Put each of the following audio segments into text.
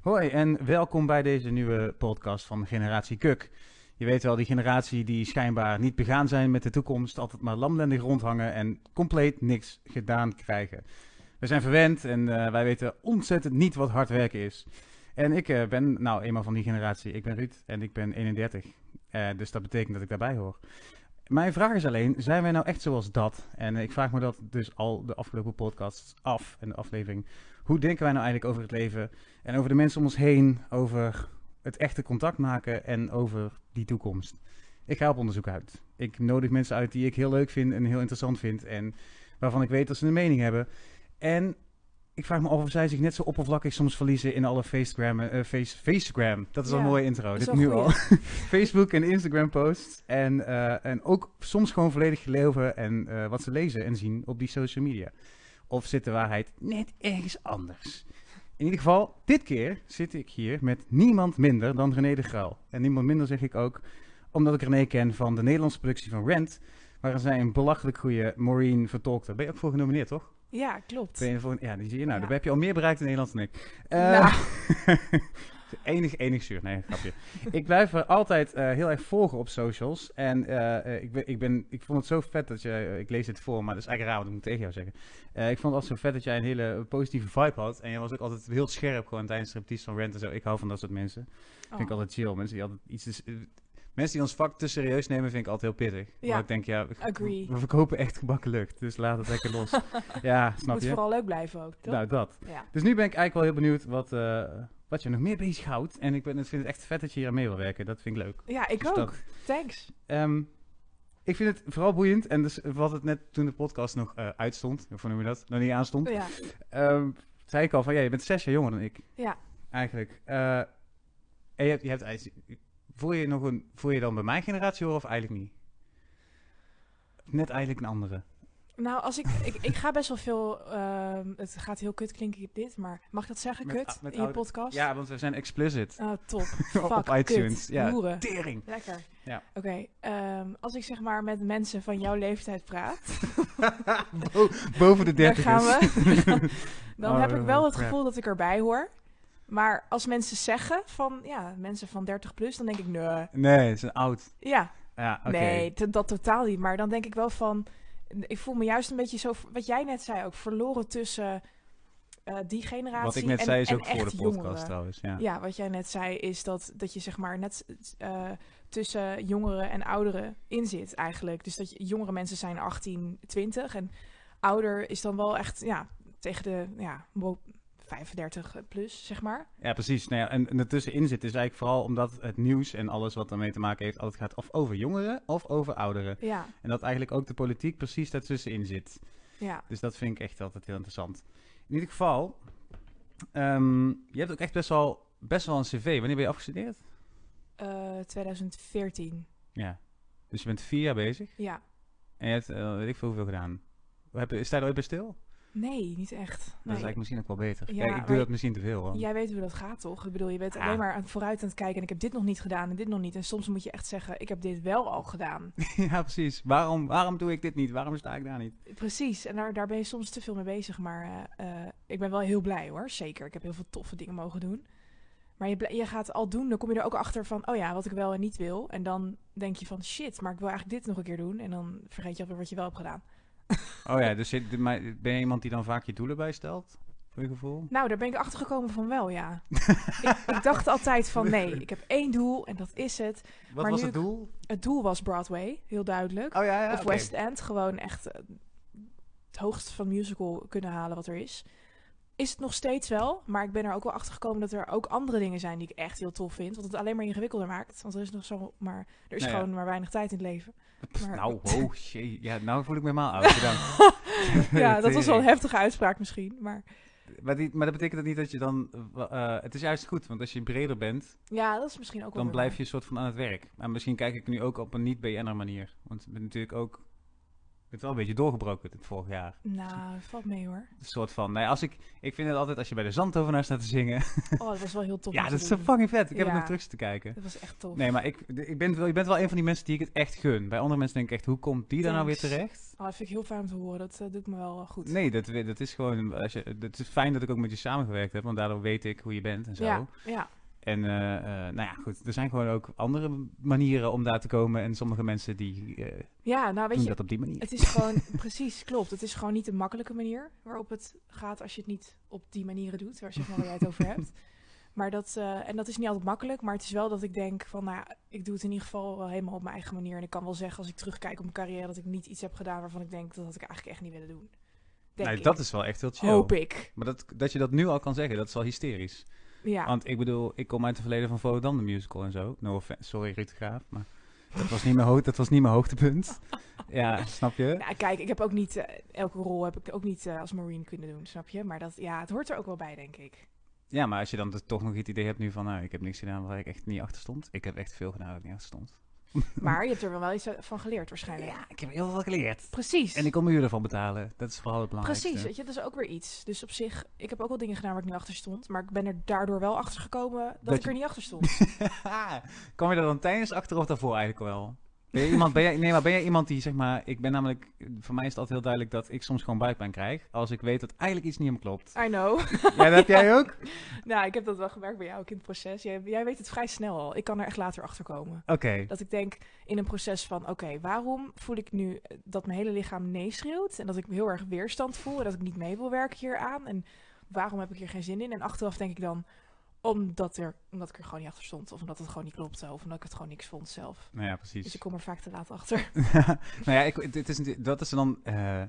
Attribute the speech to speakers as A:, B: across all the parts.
A: Hoi en welkom bij deze nieuwe podcast van Generatie Kuk. Je weet wel, die generatie die schijnbaar niet begaan zijn met de toekomst, altijd maar lamlendig rondhangen en compleet niks gedaan krijgen. We zijn verwend en eh, wij weten ontzettend niet wat hard werken is. En ik eh, ben nou eenmaal van die generatie. Ik ben Ruud en ik ben 31. Eh, dus dat betekent dat ik daarbij hoor. Mijn vraag is alleen, zijn wij nou echt zoals dat? En eh, ik vraag me dat dus al de afgelopen podcasts af en de aflevering. Hoe denken wij nou eigenlijk over het leven en over de mensen om ons heen, over het echte contact maken en over die toekomst? Ik ga op onderzoek uit. Ik nodig mensen uit die ik heel leuk vind en heel interessant vind en waarvan ik weet dat ze een mening hebben. En ik vraag me af of zij zich net zo oppervlakkig soms verliezen in alle Facegram. eh, face, Facegram. Dat is al een
B: Ja,
A: mooie intro.
B: is
A: Dit
B: wel
A: nu
B: goeie.
A: al. Facebook en Instagram posts. En, eh, en ook soms gewoon volledig geloven en eh, wat ze lezen en zien op die social media. Of zit de waarheid net ergens anders? In ieder geval, dit keer zit ik hier met niemand minder dan René de Graal. En niemand minder zeg ik ook, omdat ik René ken van de Nederlandse productie van Rent. Waarin zij een belachelijk goede Maureen vertolkte. Ben je ook voor genomineerd, toch?
B: Ja, klopt.
A: Ben je voor- ja, die zie je nou.
B: Ja.
A: Daar heb je al meer bereikt in Nederland dan ik. Eh,
B: Nou.
A: enig, enig zuur. Nee, grapje. ik blijf er altijd eh, heel erg volgen op socials. En eh, eh, ik, ben, ik, ben, ik vond het zo vet dat je... eh, Ik lees dit voor, maar dat is eigenlijk raar, want ik moet tegen jou zeggen. Eh, ik vond het altijd zo vet dat jij een hele positieve vibe had. En je was ook altijd heel scherp gewoon tijdens de repetities van Rent en zo. Ik hou van dat soort mensen.
B: Oh.
A: Vind ik altijd chill. Mensen die altijd iets... te- eh, Mensen die ons vak te serieus nemen, vind ik altijd heel pittig.
B: Ja.
A: Maar ik denk, ja, we-
B: Agree.
A: we verkopen echt gebakken lucht. Dus laat het lekker los. ja, snap
B: Moet
A: je?
B: vooral leuk blijven ook, toch?
A: Nou, dat.
B: ja.
A: Dus nu ben ik eigenlijk wel heel benieuwd wat, eh, wat je nog meer bezighoudt. En ik ben, ik vind het echt vet dat je hier aan mee wil werken. Dat vind ik leuk.
B: ja, ik
A: Dus
B: ook.
A: dat-
B: Thanks.
A: Ehm, ik vind het vooral boeiend. En dus wat het net toen de podcast nog eh, uitstond, of hoe noem je dat, nog niet aanstond.
B: Ja.
A: ehm, zei ik al van, ja, je bent zes jaar jonger dan ik.
B: Ja.
A: Eigenlijk. Eh, en je hebt, je hebt, eigenlijk- voel je nog een, voel je dan bij mijn generatie hoor of eigenlijk niet? Net eigenlijk een andere.
B: Nou, als ik, ik, ik ga best wel veel... ehm, het gaat heel kut klinken dit, maar mag ik dat zeggen,
A: Met-
B: kut,
A: ah, met
B: in je
A: oude-
B: podcast?
A: Ja, want we zijn explicit.
B: Oh, top.
A: Op
B: Fuck,
A: iTunes,
B: Kut.
A: ja.
B: Hoeren.
A: Tering!
B: Lekker.
A: Ja.
B: Oké, ehm, als ik zeg maar met mensen van jouw leeftijd praat,
A: Bo- boven de
B: daar
A: 30
B: gaan we. dan
A: Oh,
B: heb ik wel het
A: crap.
B: gevoel dat ik erbij hoor. Maar als mensen zeggen van, ja, mensen van 30 plus, dan denk ik, nee.
A: Nee, het is een oud.
B: Ja,
A: Ja, oké.
B: Nee, t- dat totaal niet. Maar dan denk ik wel van... Ik voel me juist een beetje zo... Wat jij net zei ook. Verloren tussen eh, die generatie
A: Wat ik net
B: en,
A: zei is
B: en
A: ook voor
B: echt
A: de podcast
B: jongeren.
A: trouwens. Ja.
B: Ja, wat jij net zei is dat, dat je zeg maar net eh, tussen jongeren en ouderen in zit eigenlijk. Dus dat je, jongere mensen zijn 18, 20 en ouder is dan wel echt ja, tegen de ja, wo- 35 plus, zeg maar.
A: Ja, precies. Nou ja, en, en ertussenin zit is eigenlijk vooral omdat het nieuws en alles wat ermee te maken heeft, altijd gaat of over jongeren of over ouderen.
B: Ja,
A: En dat eigenlijk ook de politiek precies daartussenin zit.
B: ja.
A: Dus dat vind ik echt altijd heel interessant. In ieder geval, ehm, je hebt ook echt best wel, best wel een cv. Wanneer ben je afgestudeerd?
B: Eh, 2014,
A: Ja. Dus je bent vier jaar bezig
B: ja.
A: en je hebt eh, weet ik veel hoeveel gedaan. Heb, je- sta je er ooit bij stil?
B: Nee, niet echt.
A: Dat is
B: Nee.
A: eigenlijk misschien ook wel beter.
B: Ja,
A: Kijk, ik doe
B: maar-
A: dat misschien te veel. hoor.
B: Jij weet hoe dat gaat, toch? Ik bedoel, je bent
A: Ah.
B: alleen maar aan het vooruit aan het kijken. En ik heb dit nog niet gedaan en dit nog niet. En soms moet je echt zeggen, ik heb dit wel al gedaan.
A: Ja, precies. Waarom, waarom doe ik dit niet? Waarom sta ik daar niet?
B: Precies. En daar, daar ben je soms te veel mee bezig. Maar eh, eh, ik ben wel heel blij, hoor. Zeker. Ik heb heel veel toffe dingen mogen doen. Maar je, blij- je gaat al doen, dan kom je er ook achter van, oh ja, wat ik wel en niet wil. En dan denk je van, shit, maar ik wil eigenlijk dit nog een keer doen. En dan vergeet je alweer wat je wel hebt gedaan.
A: Oh ja, dus je- maar ben je iemand die dan vaak je doelen bijstelt? Voor je gevoel?
B: Nou, daar ben ik achter gekomen van wel, ja. ik, ik dacht altijd van, nee, ik heb één doel en dat is het.
A: Wat
B: Maar
A: was
B: nu
A: het
B: ik-
A: doel?
B: Het doel was Broadway, heel duidelijk.
A: Oh ja, ja.
B: of
A: oké.
B: West End gewoon echt eh, het hoogste van musical kunnen halen wat er is. Is het nog steeds wel, maar ik ben er ook wel achter gekomen dat er ook andere dingen zijn die ik echt heel tof vind. Wat het alleen maar ingewikkelder maakt. Want er is nog zo maar er is
A: Nou ja.
B: gewoon maar weinig tijd in het leven.
A: Pff,
B: maar-
A: Nou, wow, jee. Ja, nou voel ik me helemaal oud. Bedankt.
B: ja, dat was wel een
A: Tering.
B: heftige uitspraak misschien. Maar
A: maar, die- maar dat betekent dat niet dat je dan... eh, eh, het is juist goed, want als je breder bent,
B: ja, dat is misschien ook wel.
A: dan
B: weer
A: Nou, blijf je soort van aan het werk. Maar misschien kijk ik nu ook op een niet-BN'er manier. Want ik ben natuurlijk ook bent wel een beetje doorgebroken dit vorig jaar.
B: Nou, dat valt mee hoor.
A: Een soort van, nee, als ik, ik vind het altijd als je bij de zandtovenaar staat te zingen.
B: Oh, dat was wel heel tof.
A: ja,
B: om te
A: dat is zo
B: doen.
A: fucking vet. Ik heb
B: Ja.
A: het nog terug te kijken.
B: Dat was echt tof.
A: Nee, maar ik, de- ik ben, wel- je bent wel een van die mensen die ik het echt gun. Bij andere mensen denk ik echt, hoe komt die daar nou weer
B: Thanks.
A: terecht?
B: Oh, dat vind ik heel fijn om te horen. Dat eh, doet me wel eh, goed.
A: Nee, dat, we- dat is gewoon, als je, het is fijn dat ik ook met je samengewerkt heb, want daardoor weet ik hoe je bent en zo.
B: Ja, ja.
A: En eh, eh, nou ja, goed, er zijn gewoon ook andere manieren om daar te komen. En sommige mensen die eh,
B: ja, nou weet
A: doen
B: je,
A: dat op die manier.
B: het is gewoon, precies, klopt. Het is gewoon niet de makkelijke manier waarop het gaat als je het niet op die manieren doet, waar, zeg maar, waar jij het over hebt. Maar dat, eh, en dat is niet altijd makkelijk, maar het is wel dat ik denk van, nou, ja, ik doe het in ieder geval wel helemaal op mijn eigen manier. En ik kan wel zeggen, als ik terugkijk op mijn carrière, dat ik niet iets heb gedaan waarvan ik denk, dat had ik eigenlijk echt niet willen doen. Denk
A: Nee,
B: ik.
A: Nou, dat is wel echt heel chill.
B: Hoop ik.
A: Maar dat, dat je dat nu al kan zeggen, dat is al hysterisch.
B: Ja.
A: Want ik bedoel, ik kom uit het verleden van Volendam, de musical en zo. No offense, sorry Ruud de Graaf, maar dat was niet mijn, ho- dat was niet mijn hoogtepunt. Ja, snap je?
B: Nou, kijk, ik heb ook niet, eh, elke rol heb ik ook niet eh, als Marine kunnen doen, snap je? Maar dat, ja, het hoort er ook wel bij, denk ik.
A: Ja, maar als je dan dus toch nog het idee hebt nu van, nou, ik heb niks gedaan waar ik echt niet achter stond. Ik heb echt veel gedaan waar ik niet achter stond.
B: Maar je hebt er wel iets van geleerd waarschijnlijk.
A: Ja, ik heb heel veel geleerd.
B: Precies.
A: En ik kon mijn huur ervan betalen. Dat is vooral het belangrijkste.
B: Precies, weet je, dat is ook weer iets. Dus op zich, ik heb ook wel dingen gedaan waar ik niet achter stond. Maar ik ben er daardoor wel achter gekomen dat,
A: Dat
B: ik
A: je-
B: er niet achter stond.
A: Kom je daar dan tijdens achter of daarvoor eigenlijk wel? Ben je iemand, ben jij, nee, maar ben jij iemand die, zeg maar, ik ben namelijk, voor mij is het altijd heel duidelijk dat ik soms gewoon buikpijn krijg. Als ik weet dat eigenlijk iets niet om klopt.
B: I know.
A: Ja, dat heb jij ook? Oké,
B: nou, ik heb dat wel gemerkt bij jou ook in het proces. Jij, jij weet het vrij snel al. Ik kan er echt later achter komen. Dat ik denk in een proces van, oké, waarom voel ik nu eh, dat mijn hele lichaam nee schreeuwt? En dat ik me heel erg weerstand voel en dat ik niet mee wil werken hieraan? En waarom heb ik hier geen zin in? En achteraf denk ik dan, omdat, er, omdat ik er gewoon niet achter stond. Of omdat het gewoon niet klopte. Of omdat ik het gewoon niks vond zelf.
A: nou ja,
B: Dus
A: precies.
B: ik kom er vaak te laat achter.
A: nou ja, ik, dit is, dat is dan, eh,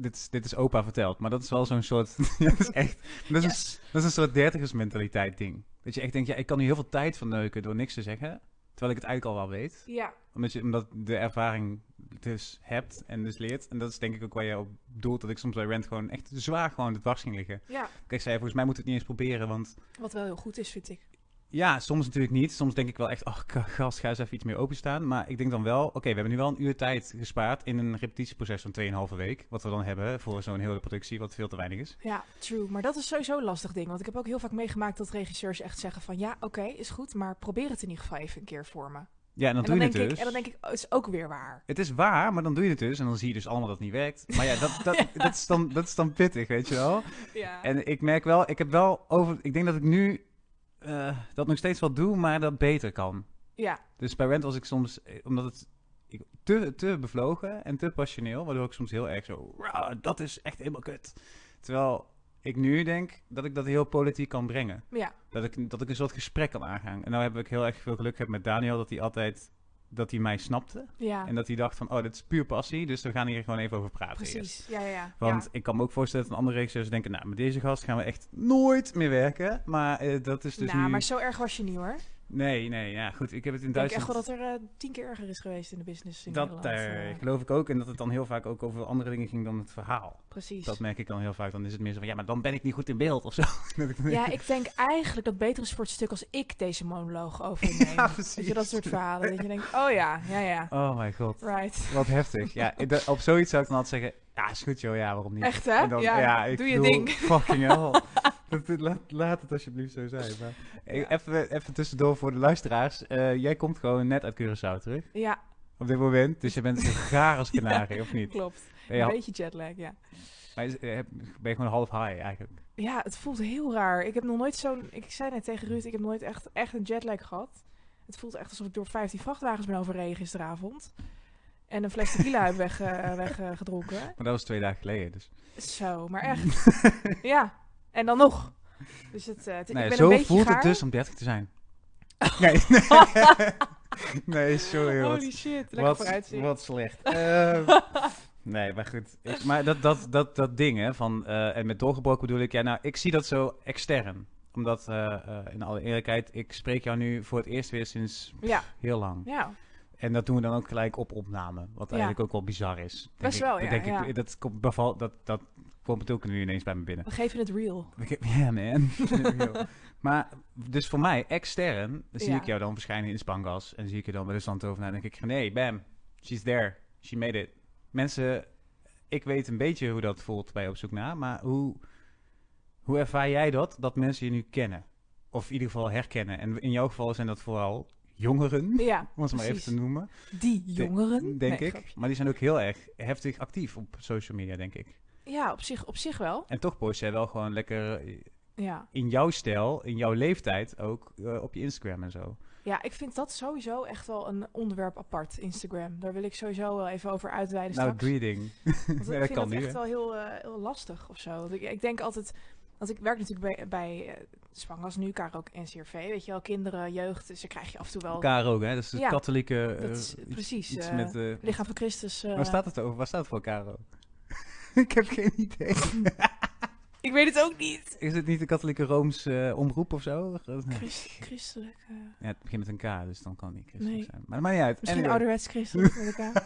A: dit, is, dit is opa verteld, maar dat is wel zo'n soort, dat is echt, dat is, een, s- dat is een soort dertigersmentaliteit ding. Dat je echt denkt, ja, ik kan nu heel veel tijd verneuken door niks te zeggen, terwijl ik het eigenlijk al wel weet.
B: Ja,
A: Omdat, je, omdat de ervaring dus hebt en dus leert. En dat is denk ik ook waar je op doelt. Dat ik soms bij Rent gewoon echt zwaar gewoon het dwars ging liggen.
B: ja.
A: Kijk, zei volgens mij moet het niet eens proberen. Want
B: Wat wel heel goed is, vind ik.
A: ja, soms natuurlijk niet. Soms denk ik wel echt, ach ka- gast, ga eens even iets meer openstaan. Maar ik denk dan wel, oké, we hebben nu wel een uur tijd gespaard in een repetitieproces van 2,5 week. Wat we dan hebben voor zo'n hele productie, wat veel te weinig is.
B: Ja, true. Maar dat is sowieso een lastig ding. Want ik heb ook heel vaak meegemaakt dat regisseurs echt zeggen van... Ja, oké, is goed, maar probeer het in ieder geval even een keer voor me.
A: Ja, en dan
B: en,
A: doe
B: dan
A: je het
B: denk ik,
A: dus.
B: en dan denk ik, oh, is ook weer waar.
A: Het is waar, maar dan doe je het dus. En dan zie je dus allemaal dat het niet werkt. Maar ja, dat, dat, dat, is, dan, dat is dan pittig, weet je wel.
B: Ja.
A: En ik merk wel, ik heb wel over. Ik denk dat ik nu eh, dat nog steeds wel doe, maar dat beter kan.
B: ja,
A: Dus bij Rent was ik soms, eh, omdat het ik, te, te bevlogen en te passioneel, waardoor ik soms heel erg zo, "Rauw, dat is echt helemaal kut. Terwijl ik nu denk dat ik dat heel politiek kan brengen.
B: ja,
A: Dat ik, dat ik een soort gesprek kan aangaan. En nou heb ik heel erg veel geluk gehad met Daniel, dat hij altijd, dat hij mij snapte.
B: ja.
A: En dat hij dacht van, oh, dit is puur passie, dus we gaan hier gewoon even over praten. eerst."
B: precies. Ja, ja, ja.
A: Want
B: Ja.
A: ik kan me ook voorstellen dat een andere regisseurs denken... nou, met deze gast gaan we echt nooit meer werken. Maar eh, dat is dus
B: nou,
A: nu...
B: maar zo erg was je niet hoor.
A: Nee, nee, ja, goed. Ik heb het in
B: Ik denk echt
A: Duitsland...
B: wel dat er eh, tien keer erger is geweest in de business in
A: dat
B: Nederland.
A: eh,
B: eh,
A: geloof ik ook. En dat het dan heel vaak ook over andere dingen ging dan het verhaal.
B: precies.
A: Dat merk ik dan heel vaak. Dan is het meer zo van... ja, maar dan ben ik niet goed in beeld of zo. Dat ik dan
B: Ja,
A: denk,
B: ik denk eigenlijk dat beter is voor het stuk als ik deze monoloog overneem.
A: Ja,
B: Weet
A: precies.
B: je, dat soort verhalen. Dat je denkt, oh ja, ja, ja.
A: Oh mijn god.
B: Right.
A: Wat heftig. Ja, ik- dat- op zoiets zou ik dan altijd zeggen... ja, is goed joh, ja, waarom niet?
B: Echt, hè?
A: En dan-
B: Ja,
A: ik
B: doe je
A: bedoel,
B: ding.
A: Fucking hell. Dat- dat- laat, laat het alsjeblieft zo zijn. Maar, eh, even, even tussendoor voor de luisteraars. Eh, jij komt gewoon net uit Curaçao terug.
B: Ja,
A: Op dit moment. Dus je bent zo gaar als kanarie, of niet?
B: klopt.
A: Ben je,
B: Een
A: hal-
B: beetje jetlag, ja.
A: maar is- eh, heb- ben je gewoon half high eigenlijk?
B: Ja, het voelt heel raar. Ik heb nog nooit zo'n. Ik zei net tegen Ruud, ik heb nooit echt, echt een jetlag gehad. Het voelt echt alsof ik door 15 vrachtwagens ben overreden gisteravond. En een fles tequila heb weggedronken. weg, eh, gedronken.
A: Maar dat was twee dagen geleden. Dus.
B: Zo, maar echt. ja, en dan nog. Dus het, eh, het-
A: Nee,
B: ik ben
A: zo
B: een beetje
A: voelt
B: gaar.
A: het dus om 30 te zijn. Nee, nee, nee sorry. Wat,
B: Holy shit, lekker
A: wat,
B: vooruitzicht.
A: wat slecht. Eh, nee, maar goed. Ik- maar dat, dat, dat, dat ding, hè, van, eh, en met doorgebroken bedoel ik, ja, nou, ik zie dat zo extern. Omdat, eh, eh, in alle eerlijkheid, ik spreek jou nu voor het eerst weer sinds
B: Ja,
A: heel lang.
B: ja,
A: En dat doen we dan ook gelijk op opname. Wat
B: Ja.
A: eigenlijk ook wel bizar is. denk
B: Best
A: ik.
B: wel,
A: Dat
B: ja,
A: Denk ik,
B: ja.
A: Dat, komt, beval, dat, dat komt ook nu ineens bij me binnen.
B: we geven het real.
A: Ik heb- Ja, man. maar dus voor mij, extern, zie
B: Ja.
A: ik jou dan verschijnen in Spangas. En zie ik je dan bij de zand over en denk ik, nee, bam, she's there. She made it. mensen, ik weet een beetje hoe dat voelt bij Op Zoek Naar, maar hoe, hoe ervaar jij dat, dat mensen je nu kennen? Of in ieder geval herkennen. En in jouw geval zijn dat vooral jongeren,
B: Ja,
A: om het maar even
B: precies.
A: te noemen,
B: Die jongeren,
A: denk
B: Nee,
A: ik.
B: grapje.
A: Maar die zijn ook heel erg heftig actief op social media, denk ik.
B: Ja, op zich, op zich wel.
A: En toch post jij wel gewoon lekker eh,
B: Ja.
A: in jouw stijl, in jouw leeftijd ook eh, op je Instagram en zo.
B: ja, ik vind dat sowieso echt wel een onderwerp apart, Instagram. Daar wil ik sowieso wel even over uitweiden
A: nou,
B: straks.
A: greeting.
B: Want
A: Nee,
B: ik
A: dat
B: vind
A: kan
B: dat
A: nu,
B: echt
A: hè?
B: wel heel, eh, heel lastig of zo. Want ik, ik denk altijd, want ik werk natuurlijk bij, bij eh, Zwang als nu, Karo ook NCRV. Weet je wel, kinderen, jeugd, dus dan krijg je af en toe wel...
A: Elkaar ook, hè? Dat is de
B: Ja,
A: katholieke... eh,
B: dat is
A: iets-
B: precies,
A: iets
B: eh,
A: met, eh,
B: Lichaam van Christus. eh,
A: Waar staat het over? Waar staat het voor, Caro? ik heb geen idee.
B: Ik weet het ook niet.
A: Is het niet de katholieke Rooms eh, omroep of zo?
B: Christ, christelijk. eh,
A: Ja, het begint met een K, dus dan kan het niet christelijk
B: Nee.
A: zijn. Maar dat maakt niet uit.
B: misschien
A: Anyway.
B: ouderwets christelijk met elkaar.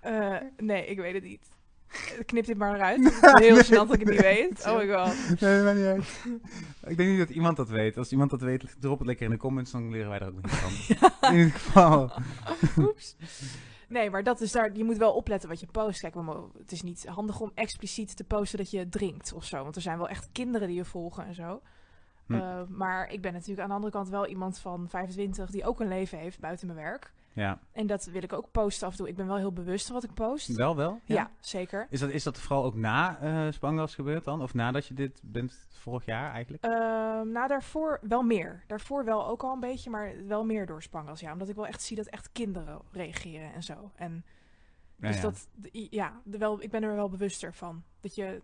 B: Eh, nee, ik weet het niet. Eh, Knip dit maar eruit. Het is Heel gênant dat ik het niet weet. Oh my god.
A: Nee, dat maakt niet uit. ik denk niet dat iemand dat weet. Als iemand dat weet, drop het lekker in de comments, dan leren wij er ook niet van. In ieder geval.
B: Oeps. Nee, maar dat is daar, je moet wel opletten wat je post. Kijk, we mo- het is niet handig om expliciet te posten dat je drinkt of zo. Want er zijn wel echt kinderen die je volgen en zo.
A: Hm.
B: Eh, maar ik ben natuurlijk aan de andere kant wel iemand van 25 die ook een leven heeft buiten mijn werk.
A: Ja,
B: En dat wil ik ook posten af en toe. Ik ben wel heel bewust van wat ik post.
A: wel wel.
B: Ja, zeker.
A: Is dat, is dat vooral ook na eh Spangas gebeurd dan? Of nadat je dit bent vorig jaar eigenlijk?
B: Ehm, nou, daarvoor wel meer. Daarvoor wel ook al een beetje, maar wel meer door Spangels. Ja, omdat ik wel echt zie dat echt kinderen reageren en zo. En
A: Ja,
B: dus
A: ja.
B: dat, de- i- ja, de wel, ik ben er wel bewuster van. Dat je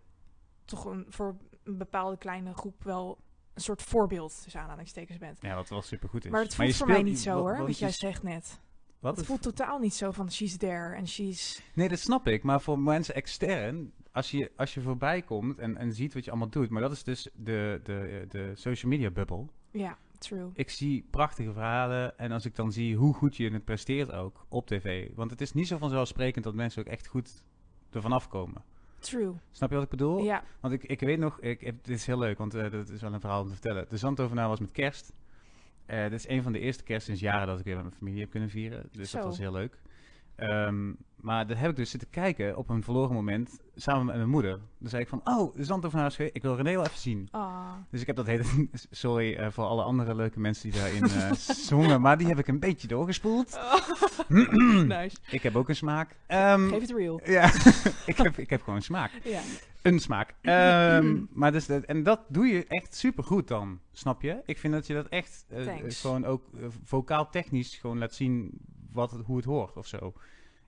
B: toch een, voor een bepaalde kleine groep wel een soort voorbeeld tussen aanhalingstekens bent.
A: Ja, wat wel supergoed is.
B: Maar het voelt
A: je
B: voor
A: speelt
B: mij niet zo
A: wat-
B: hoor,
A: want
B: wat
A: je
B: jij
A: s-
B: zegt net.
A: Wat
B: Het
A: is
B: voelt totaal niet zo van she's there en she's...
A: Nee, dat snap ik. Maar voor mensen extern, als je, als je voorbij komt en, en ziet wat je allemaal doet. Maar dat is dus de, de, de social media bubbel.
B: Ja, true.
A: Ik zie prachtige verhalen. En als ik dan zie hoe goed je het presteert ook op tv. Want het is niet zo vanzelfsprekend dat mensen ook echt goed ervan afkomen.
B: True.
A: Snap je wat ik bedoel?
B: Ja,
A: Want ik, ik weet nog, ik, ik- dit is heel leuk, want eh dat is wel een verhaal om te vertellen. De Zandovenaar was met kerst. Eh, dit is een van de eerste kerst sinds jaren dat ik weer met mijn familie heb kunnen vieren. Dus
B: Zo.
A: dat was heel leuk. Ehm, maar daar heb ik dus zitten kijken op een verloren moment samen met mijn moeder. Dan zei ik van, oh, de Zandovenaar is weer, ik wil René wel even zien.
B: ah,
A: Dus ik heb dat hele, sorry eh, voor alle andere leuke mensen die daarin eh, zongen, maar die heb ik een beetje doorgespoeld.
B: nice.
A: Ik heb ook een smaak. Ehm,
B: Oh. Geef het real.
A: ja, ik, heb, ik heb gewoon smaak.
B: Ja,
A: Een smaak. Ehm, maar dus dat, en dat doe je echt supergoed dan, snap je? Ik vind dat je dat echt eh,
B: Thanks.
A: gewoon ook eh, vocaal technisch gewoon laat zien wat, het- hoe het hoort of zo.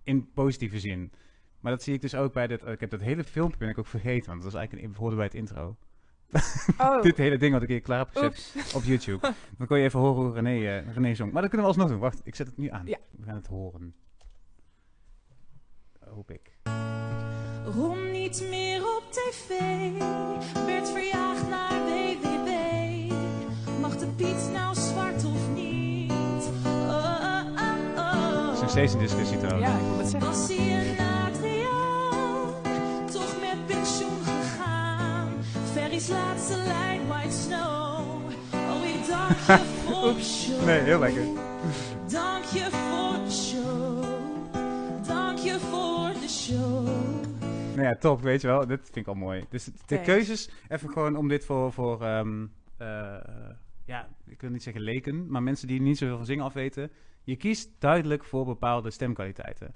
A: In positieve zin. Maar dat zie ik dus ook bij dat. Ik heb dat hele filmpje ben ik ook vergeten, want dat was eigenlijk een, hoorde bij het intro.
B: Oh,
A: Dit hele ding wat ik hier klaar heb gezet
B: oeps.
A: op YouTube. Dan kon je even horen hoe René, eh, René zong. Maar dat kunnen we alsnog doen. Wacht, ik zet het nu aan.
B: Ja.
A: We gaan het horen. Hoop ik.
C: Rom niet meer op tv, werd verjaagd naar BBB. Mag de Piet nou zwart of niet? Oh, oh, oh,
A: Het is
C: oh.
A: nog steeds een discussie trouwens.
B: Ja, ik wil het zeggen.
C: Was hij een Adriaan, toch met pensioen gegaan? Ferry's laatste lijn, White Snow. Oh, ik dank je voor de show.
A: Nee, heel lekker.
C: Dank je voor de show. Dank je voor de show.
A: Nou ja, top, weet je wel. Dit vind ik al mooi. Dus de
B: Thanks.
A: keuzes, even gewoon om dit voor, voor ehm, eh, ja, ik wil niet zeggen leken, maar mensen die niet zoveel van zingen afweten. Je kiest duidelijk voor bepaalde stemkwaliteiten.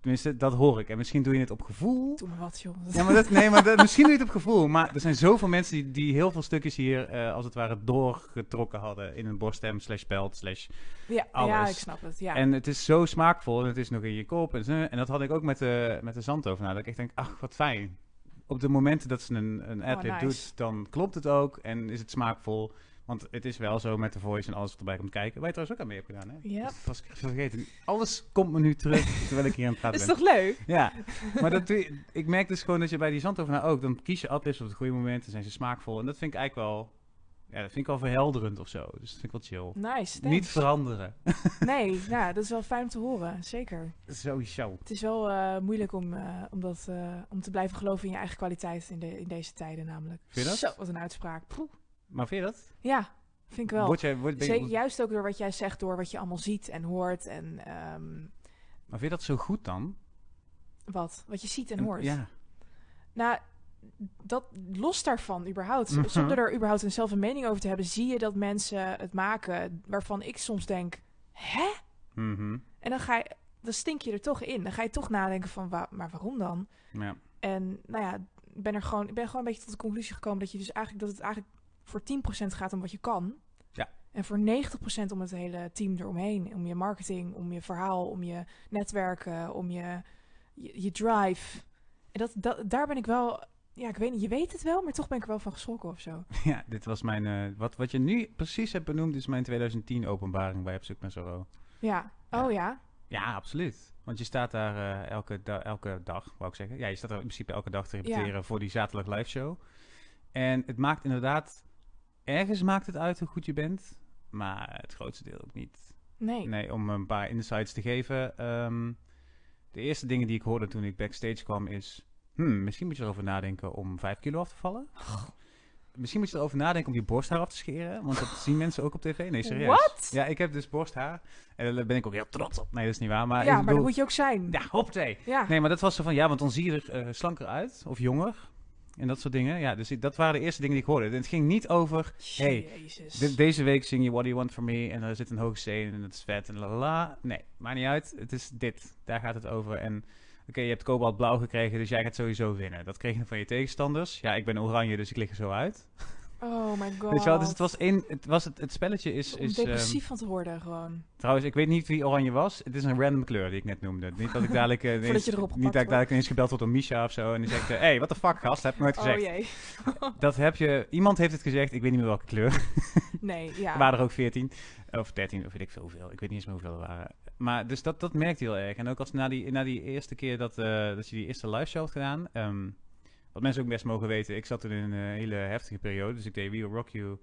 A: Tenminste, dat hoor ik. En misschien doe je het op gevoel.
B: Doe maar wat, joh.
A: Ja, maar dat, nee, maar dat, misschien doe je het op gevoel. Maar er zijn zoveel mensen die, die heel veel stukjes hier, eh, als het ware, doorgetrokken hadden in een borststem, slash pelt, slash
B: Ja, ja,
A: alles.
B: ik snap het. Ja.
A: en het is zo smaakvol en het is nog in je kop. En, zo. en dat had ik ook met de, met de zandtovenaar. Dat ik echt denk, ach, wat fijn. Op de momenten dat ze een, een adlib
B: Oh, nice.
A: doet, dan klopt het ook en is het smaakvol. Want het is wel zo met de voice en alles wat erbij komt kijken. Waar je trouwens ook aan mee hebt gedaan, hè?
B: Ja.
A: Dat was ik even vergeten. Alles komt me nu terug terwijl ik hier aan het praten
B: is
A: ben.
B: toch leuk?
A: Ja, maar dat doe je- ik merk dus gewoon dat je bij die zandtovenaar ook... dan kies je adlibs op het goede moment en zijn ze smaakvol. En dat vind ik eigenlijk wel... Ja, dat vind ik wel verhelderend of zo. Dus dat vind ik wel chill.
B: Nice.
A: Niet
B: thanks.
A: veranderen.
B: Nee, nou, dat is wel fijn om te horen. Zeker.
A: Sowieso.
B: Het is wel eh, moeilijk om, eh, om, dat, eh, om te blijven geloven in je eigen kwaliteit in, de, in deze tijden namelijk.
A: Vind je dat?
B: Zo, wat een uitspraak. Poeh.
A: Maar vind je dat?
B: Ja, vind ik wel.
A: Word jij, word, ben je-
B: Zeker, juist ook door wat jij zegt, door wat je allemaal ziet en hoort. En ehm,
A: Maar vind je dat zo goed dan?
B: Wat? Wat je ziet en
A: En-
B: hoort.
A: Ja.
B: Nou, dat los daarvan überhaupt.
A: Mhm.
B: Zonder er überhaupt een zelf een mening over te hebben, zie je dat mensen het maken waarvan ik soms denk, hè?
A: Mhm.
B: En dan ga je, dan stink je er toch in. Dan ga je toch nadenken van, wa- maar waarom dan?
A: ja.
B: En nou ja, ik ben er gewoon, ik ben gewoon een beetje tot de conclusie gekomen dat je dus eigenlijk dat het eigenlijk voor 10% gaat om wat je kan.
A: Ja.
B: En voor 90% om het hele team eromheen. Om je marketing, om je verhaal, om je netwerken, om je, je, je drive. En dat, dat, daar ben ik wel. Ja, ik weet niet, je weet het wel, maar toch ben ik er wel van geschrokken of zo.
A: Ja, dit was mijn. eh, wat, wat je nu precies hebt benoemd, is mijn 2010 openbaring bij Op Zoek naar Zorro.
B: Ja.
A: Ja.
B: Oh ja.
A: Ja, absoluut. Want je staat daar eh, elke, da- elke dag, wou ik zeggen. Ja, je staat er in principe elke dag te repeteren voor die zaterdag live show. En het maakt inderdaad, ergens maakt het uit hoe goed je bent, maar het grootste deel ook niet.
B: Nee.
A: Nee, om een paar insights te geven. ehm, de eerste dingen die ik hoorde toen ik backstage kwam is, hmm, misschien moet je erover nadenken om 5 kilo af te vallen.
B: Oh.
A: Misschien moet je erover nadenken om je borsthaar af te scheren, want dat zien mensen ook op tv. Nee, serieus.
B: Wat?
A: Ja, ik heb dus borsthaar. En daar ben ik ook heel trots op. Nee, dat is niet waar. Maar
B: ja,
A: ik
B: maar dat
A: bedoel...
B: moet je ook zijn.
A: Ja, hoppatee.
B: Ja.
A: Nee, maar dat was zo van... Ja, want dan zie je er eh, slanker uit. Of jonger. En dat soort dingen. Ja, dus ik- dat waren de eerste dingen die ik hoorde. En het ging niet over... Hey,
B: Jezus.
A: de- deze week zing je What Do You Want From Me. En daar zit een hoge C in en dat is vet. En la la la. Nee, maakt niet uit. Het is dit. Daar gaat het over. En oké, je hebt kobalt blauw gekregen. Dus jij gaat sowieso winnen. Dat kreeg je van je tegenstanders. Ja, ik ben oranje, dus ik lig er zo uit.
B: Oh my god.
A: Weet je wel? Dus het was één... Het, was het, het spelletje is...
B: Om
A: is ehm,
B: depressief van te worden gewoon.
A: Trouwens, ik weet niet wie oranje was. Het is een random kleur die ik net noemde. Niet dat ik dadelijk, eh, ineens,
B: je erop
A: niet dat
B: gepakt
A: ik dadelijk ineens gebeld word door Misha of zo. En die zegt, hé, hey, what the fuck gast, heb ik nooit gezegd.
B: Oh jee.
A: Dat heb je, iemand heeft het gezegd, ik weet niet meer welke kleur.
B: Nee, ja.
A: Er waren er ook 14 of 13 of weet ik veel hoeveel. Ik weet niet eens meer hoeveel er waren. Maar dus dat, dat merkte je heel erg. En ook als na die, na die eerste keer dat, eh, dat je die eerste live show had gedaan. ehm, wat mensen ook best mogen weten, ik zat toen in een hele heftige periode. Dus ik deed We Will Rock You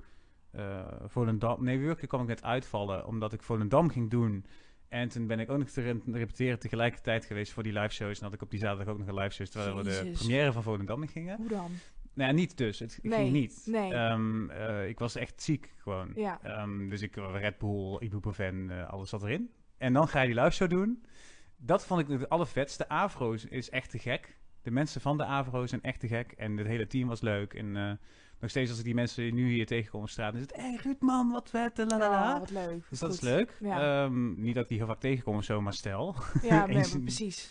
A: eh Volendam. Nee, We Will Rock You kwam ik net uitvallen, omdat ik Volendam ging doen. En toen ben ik ook nog te re- repeteren tegelijkertijd geweest voor die live shows. En had ik op die zaterdag ook nog een live show, terwijl we de
B: Jezus.
A: première van Volendam in gingen.
B: Hoe dan?
A: Nou ja, niet dus. Het
B: Nee,
A: ging niet.
B: nee.
A: Ehm, eh, ik was echt ziek gewoon.
B: Ja.
A: Ehm, dus ik eh, Red Bull, ibuprofen, eh, alles zat erin. En dan ga je die live show doen. Dat vond ik het allervetste. Avro's is echt te gek. De mensen van de Avro's zijn echt te gek. En het hele team was leuk. En eh, nog steeds als ik die mensen nu hier tegenkom op straat, dan is het... Hé, hey, Ruud, man, wat vet, eh, la la la.
B: Oh, wat leuk.
A: dus dat is
B: Goed.
A: leuk.
B: Ja.
A: Ehm, niet dat ik die heel vaak tegenkom of zo, maar stel.
B: Ja, nee,
A: Eens
B: maar
A: in-
B: precies.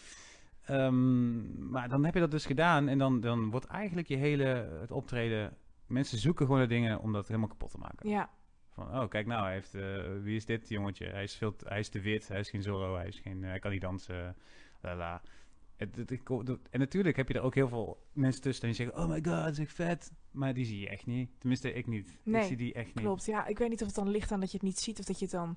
A: Ehm, maar dan heb je dat dus gedaan en dan, dan wordt eigenlijk je hele het optreden. Mensen zoeken gewoon naar dingen om dat helemaal kapot te maken.
B: Ja,
A: Van, oh, kijk nou, hij heeft, eh, wie is dit jongetje? Hij is, veel, te- hij is te wit, hij is geen Zorro, hij, is geen, eh, hij kan niet dansen, la la. Het- het- ik- dat- en natuurlijk heb je er ook heel veel mensen tussen die zeggen, oh my god, zeg vet. Maar die zie je echt niet. Tenminste, ik niet.
B: Nee,
A: ik zie die echt niet.
B: klopt. Ja, ik weet niet of het dan ligt aan dat je het niet ziet of dat je het dan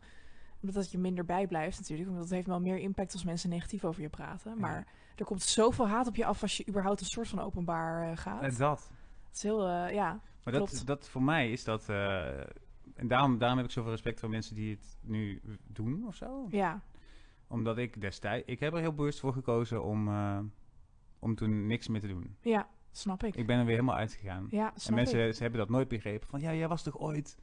B: omdat je minder bijblijft natuurlijk. Want dat heeft wel meer impact als mensen negatief over je praten. Maar er komt zoveel haat op je af als je überhaupt een soort van openbaar eh, gaat.
A: En
B: Het
A: dat.
B: is heel, eh, ja.
A: Maar dat,
B: Klopt.
A: dat voor mij is dat. eh, en daarom, daarom heb ik zoveel respect voor mensen die het nu doen of zo.
B: Ja,
A: Omdat ik destijds. Ik heb er heel bewust voor gekozen om, eh, om toen niks meer te doen.
B: ja, snap ik.
A: Ik ben er weer helemaal uitgegaan.
B: Ja,
A: en
B: snap
A: mensen
B: ik.
A: ze hebben dat nooit begrepen. Van ja, jij was toch ooit.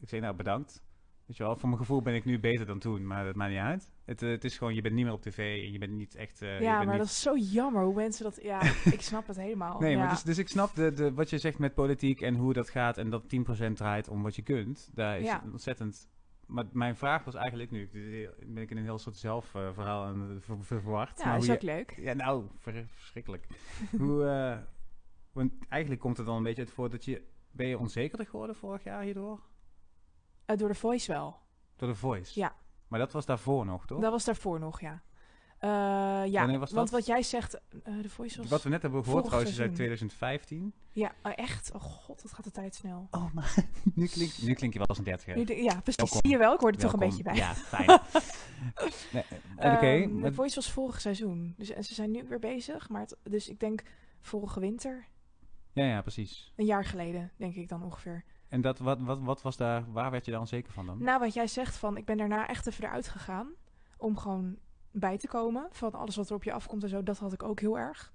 A: Ik zei nou bedankt. Weet je wel, voor mijn gevoel ben ik nu beter dan toen, maar dat maakt niet uit. Het, eh, het is gewoon, je bent niet meer op tv en je bent niet echt. eh, je
B: ja,
A: bent
B: maar
A: niet
B: dat is zo jammer hoe mensen dat... Ja, ik snap het helemaal.
A: Nee,
B: ja.
A: maar dus, dus ik snap de, de, wat je zegt met politiek en hoe dat gaat en dat 10% draait om wat je kunt. Daar is
B: Ja.
A: ontzettend. Maar mijn vraag was eigenlijk nu, ik- ik ben ik in een heel soort zelfverhaal aan het ver- ver- verwacht.
B: Ja,
A: maar
B: is
A: hoe
B: ook leuk.
A: je- ja, nou, ver- verschrikkelijk. hoe, eh, want eigenlijk komt het dan een beetje uit voor dat je, ben je onzekerder geworden vorig jaar hierdoor?
B: Eh, door de voice wel.
A: Door de Voice?
B: Ja.
A: Maar dat was daarvoor nog, toch?
B: Dat was daarvoor nog, ja. Eh, ja,
A: Wanneer was dat?
B: want wat jij zegt... eh, de voice was...
A: Wat we net hebben gehoord
B: vorig
A: trouwens is uit
B: seizoen.
A: 2015.
B: Ja, oh, echt? Oh god, wat gaat de tijd snel.
A: Oh, maar nu klink, nu klink je wel als een dertiger.
B: Nu de- ja, precies.
A: Welkom.
B: Zie je wel, ik hoor er toch een beetje
A: Welkom. Ja,
B: bij.
A: fijn. Nee, eh, Oké,
B: Ehm,
A: maar-
B: de Voice was vorig seizoen. Dus, en ze zijn nu weer bezig. Maar het- dus ik denk vorige winter,
A: ja, ja, precies.
B: een jaar geleden, denk ik dan ongeveer.
A: En dat, wat, wat, wat was daar, waar werd je daar onzeker van dan?
B: Na Nou, wat jij zegt van, ik ben daarna echt even eruit gegaan. Om gewoon bij te komen van alles wat er op je afkomt en zo. Dat had ik ook heel erg.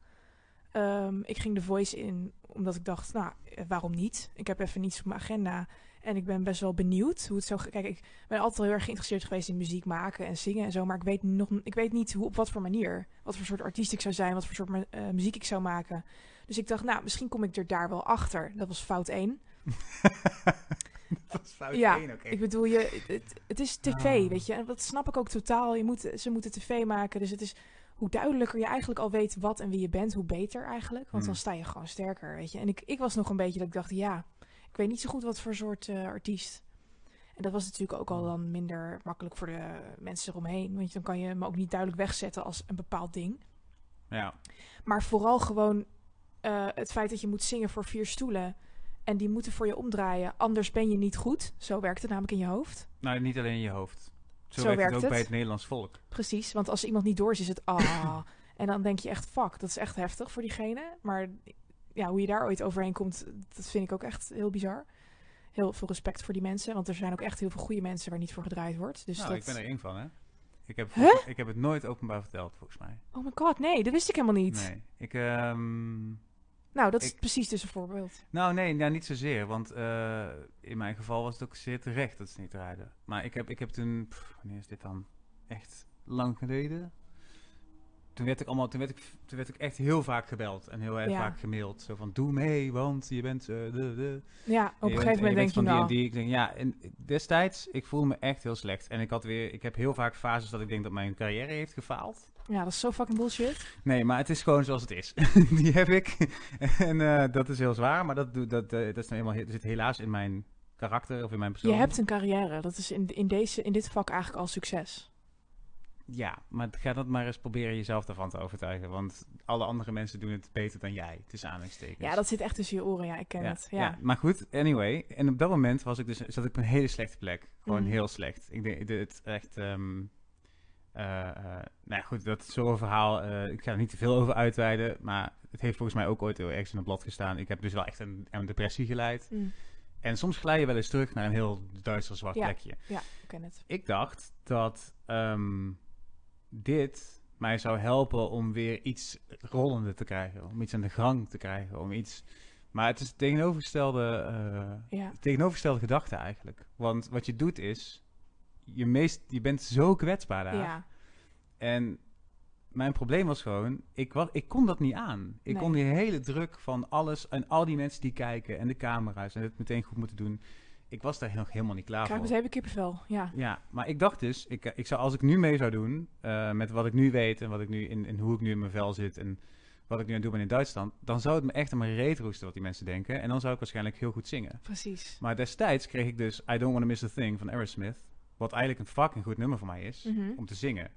B: Eh, Ehm, ik ging de Voice in omdat ik dacht, nou, eh, waarom niet? Ik heb even niets op mijn agenda. En ik ben best wel benieuwd hoe het zo... Kijk, ik ben altijd heel erg geïnteresseerd geweest in muziek maken en zingen en zo. Maar ik weet, nog, ik weet niet hoe, op wat voor manier. Wat voor soort artiest ik zou zijn, wat voor soort mu- eh, muziek ik zou maken. Dus ik dacht, nou, misschien kom ik er daar wel achter. Dat was fout één.
A: Dat is fout
B: Ja,
A: één, oké.
B: Ik bedoel, je, het, het is tv,
A: Ah.
B: weet je. En dat snap ik ook totaal. Je moet, ze moeten tv maken. Dus het is hoe duidelijker je eigenlijk al weet wat en wie je bent, hoe beter eigenlijk. Want dan
A: Hmm.
B: sta je gewoon sterker, weet je. En ik, ik was nog een beetje dat ik dacht, ja, ik weet niet zo goed wat voor soort eh, artiest. En dat was natuurlijk ook al
A: Hmm.
B: dan minder makkelijk voor de mensen eromheen. Want dan kan je hem ook niet duidelijk wegzetten als een bepaald ding.
A: Ja.
B: Maar vooral gewoon eh, het feit dat je moet zingen voor vier stoelen. En die moeten voor je omdraaien. Anders ben je niet goed. Zo werkt het namelijk in je hoofd.
A: Nou, niet alleen in je hoofd. Zo,
B: Zo
A: werkt,
B: werkt
A: het ook
B: het.
A: bij het Nederlands volk.
B: Precies, want als iemand niet door is, is het ah. en dan denk je echt, fuck, dat is echt heftig voor diegene. Maar ja, hoe je daar ooit overheen komt, dat vind ik ook echt heel bizar. Heel veel respect voor die mensen, want er zijn ook echt heel veel goede mensen waar niet voor gedraaid wordt. Dus
A: nou,
B: dat...
A: ik ben er één van, hè. Ik heb,
B: Huh?
A: volgens- ik heb het nooit openbaar verteld, volgens mij.
B: Oh my god, nee, dat wist ik helemaal niet.
A: Nee. Ik, ehm,
B: Nou, dat is
A: Ik-
B: precies dus een voorbeeld.
A: Nou, nee, nou, niet zozeer. Want eh, in mijn geval was het ook zeer terecht dat ze niet rijden. Maar ik heb, ik heb toen... pff, wanneer is dit dan? Echt lang geleden? Toen werd, ik allemaal, toen, werd ik, toen werd ik echt heel vaak gebeld en heel erg
B: Ja.
A: vaak gemaild. Zo van, doe mee, want je bent... eh, de, de.
B: Ja, op een
A: Je bent-
B: gegeven moment denk je
A: van die
B: nou...
A: en die. Ik denk, ja, en destijds, ik voelde me echt heel slecht. En ik, had weer, ik heb heel vaak fases dat ik denk dat mijn carrière heeft gefaald.
B: Ja, dat is zo fucking bullshit.
A: Nee, maar het is gewoon zoals het is. die heb ik. en eh, dat is heel zwaar, maar dat, doe- dat, eh, dat is nou eenmaal, dat zit helaas in mijn karakter of in mijn persoon.
B: Je hebt een carrière, dat is in, in, deze, in dit vak eigenlijk al succes.
A: Ja, maar ga dat maar eens proberen jezelf daarvan te overtuigen. Want alle andere mensen doen het beter dan jij, tussen aanhalingstekens.
B: Ja, dat zit echt tussen je oren, ja, ik ken het. Ja.
A: Maar goed, anyway. En op dat moment was ik dus, zat ik op een hele slechte plek. Gewoon
B: Mhm.
A: heel slecht. Ik deed ik deed het echt... ehm, eh, eh, nou ja, goed, dat is zo'n verhaal. eh, ik ga er niet te veel over uitweiden. Maar het heeft volgens mij ook ooit heel ergens in het blad gestaan. Ik heb dus wel echt een, aan een depressie geleid.
B: Mm,
A: En soms glij je wel eens terug naar een heel duister zwart
B: Ja.
A: plekje.
B: ik ken het.
A: Ik dacht dat ehm, dit mij zou helpen om weer iets rollende te krijgen. Om iets aan de gang te krijgen. Om iets... Maar het is het tegenovergestelde, eh,
B: Ja,
A: het tegenovergestelde gedachte eigenlijk. Want wat je doet is... Je, meest, je bent zo kwetsbaar daar.
B: ja.
A: En mijn probleem was gewoon... Ik, wa- ik kon dat niet aan. Ik
B: Nee.
A: kon die hele druk van alles... En al die mensen die kijken. En de camera's. En het meteen goed moeten doen. Ik was daar nog helemaal niet klaar
B: Krijg ik
A: voor.
B: meteen weer kippenvel, ja.
A: Ja, maar ik dacht dus, ik, ik zou, als ik nu mee zou doen, eh, met wat ik nu weet en wat ik nu in, in hoe ik nu in mijn vel zit en wat ik nu aan het doen ben in Duitsland, dan zou het me echt aan mijn reet roesten wat die mensen denken. En dan zou ik waarschijnlijk heel goed zingen.
B: Precies.
A: Maar destijds kreeg ik dus I Don't Wanna Miss a Thing van Aerosmith, wat eigenlijk een fucking goed nummer voor mij is,
B: Mhm.
A: om te zingen.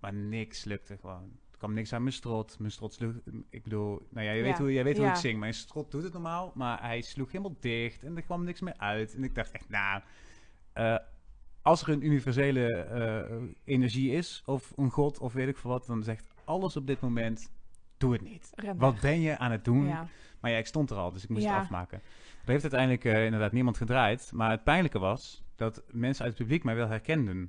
A: Maar niks lukte gewoon. Er kwam niks aan mijn strot. Mijn strot sloeg, ik bedoel, nou ja, je weet,
B: Ja,
A: hoe, jij weet hoe
B: ja.
A: ik zing. Mijn strot doet het normaal, maar hij sloeg helemaal dicht en er kwam niks meer uit. En ik dacht echt, nou, eh, als er een universele eh, energie is, of een god, of weet ik veel wat, dan zegt alles op dit moment, doe het niet.
B: Ren
A: Wat
B: weg.
A: ben je aan het doen?
B: Ja.
A: Maar ja, ik stond er al, dus ik moest
B: Ja.
A: het afmaken. Er heeft uiteindelijk eh, inderdaad niemand gedraaid. Maar het pijnlijke was dat mensen uit het publiek mij wel herkenden.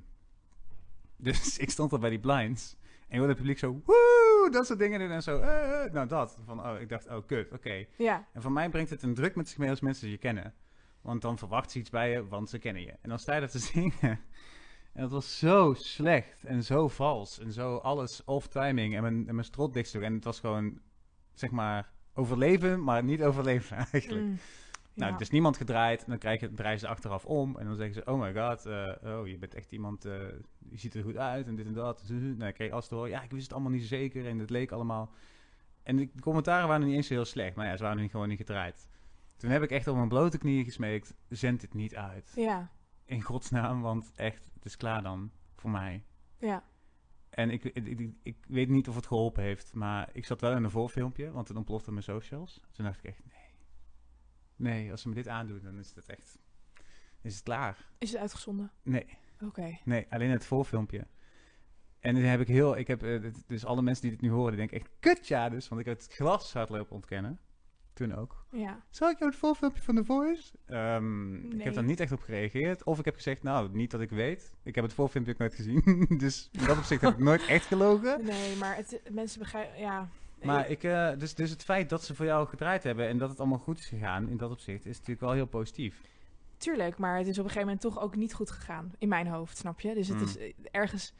A: Dus ik stond al bij die blinds. En je hoorde het publiek zo, woe, dat soort dingen doen en zo. eh, eh, nou, dat. Van, oh, ik dacht, oh, kut, oké.
B: Ja,
A: En voor mij brengt het een druk met zich mee als mensen je kennen. Want dan verwacht ze iets bij je, want ze kennen je. En dan sta je daar te zingen. En dat was zo slecht en zo vals. En zo alles off-timing en mijn, en mijn strot dichtstuk. En het was gewoon, zeg maar, overleven, maar niet overleven eigenlijk.
B: mm.
A: Nou,
B: Ja.
A: dus niemand gedraaid. En dan krijg je, draaien ze achteraf om. En dan zeggen ze, oh my god, eh, oh, je bent echt iemand, eh, je ziet er goed uit en dit en dat. Nou, ik kreeg alles te horen. Ja, ik wist het allemaal niet zeker en het leek allemaal... En de commentaren waren niet eens zo heel slecht. Maar ja, ze waren gewoon niet gedraaid. Toen heb ik echt op mijn blote knieën gesmeekt, zend dit niet uit.
B: ja,
A: In godsnaam, want echt, het is klaar dan, voor mij.
B: ja,
A: En ik, ik, ik, ik weet niet of het geholpen heeft, maar ik zat wel in een voorfilmpje, want toen ontplofte mijn socials. Toen dacht ik echt, nee. Nee, als ze me dit aandoen, dan is het echt... Is het klaar?
B: is het uitgezonden?
A: Nee,
B: Oké.
A: nee, alleen het voorfilmpje. En dan heb ik heel... Ik heb, eh, dit- dus alle mensen die dit nu horen, die denken echt, kut ja dus. Want ik heb het glas hard lopen ontkennen. Toen ook.
B: Ja,
A: Zal ik jou het voorfilmpje van The Voice? Ehm, Ik
B: Nee.
A: heb daar niet echt op gereageerd. Of ik heb gezegd, nou, niet dat ik weet. Ik heb het voorfilmpje ook nooit gezien. dus in dat opzicht heb ik nooit echt gelogen.
B: nee, maar het, mensen begrijpen, ja,
A: Maar ik, eh, dus, dus het feit dat ze voor jou gedraaid hebben en dat het allemaal goed is gegaan in dat opzicht, is natuurlijk wel heel positief.
B: Tuurlijk, maar het is op een gegeven moment toch ook niet goed gegaan. In mijn hoofd, snap je? Dus het
A: Mm.
B: is eh, ergens...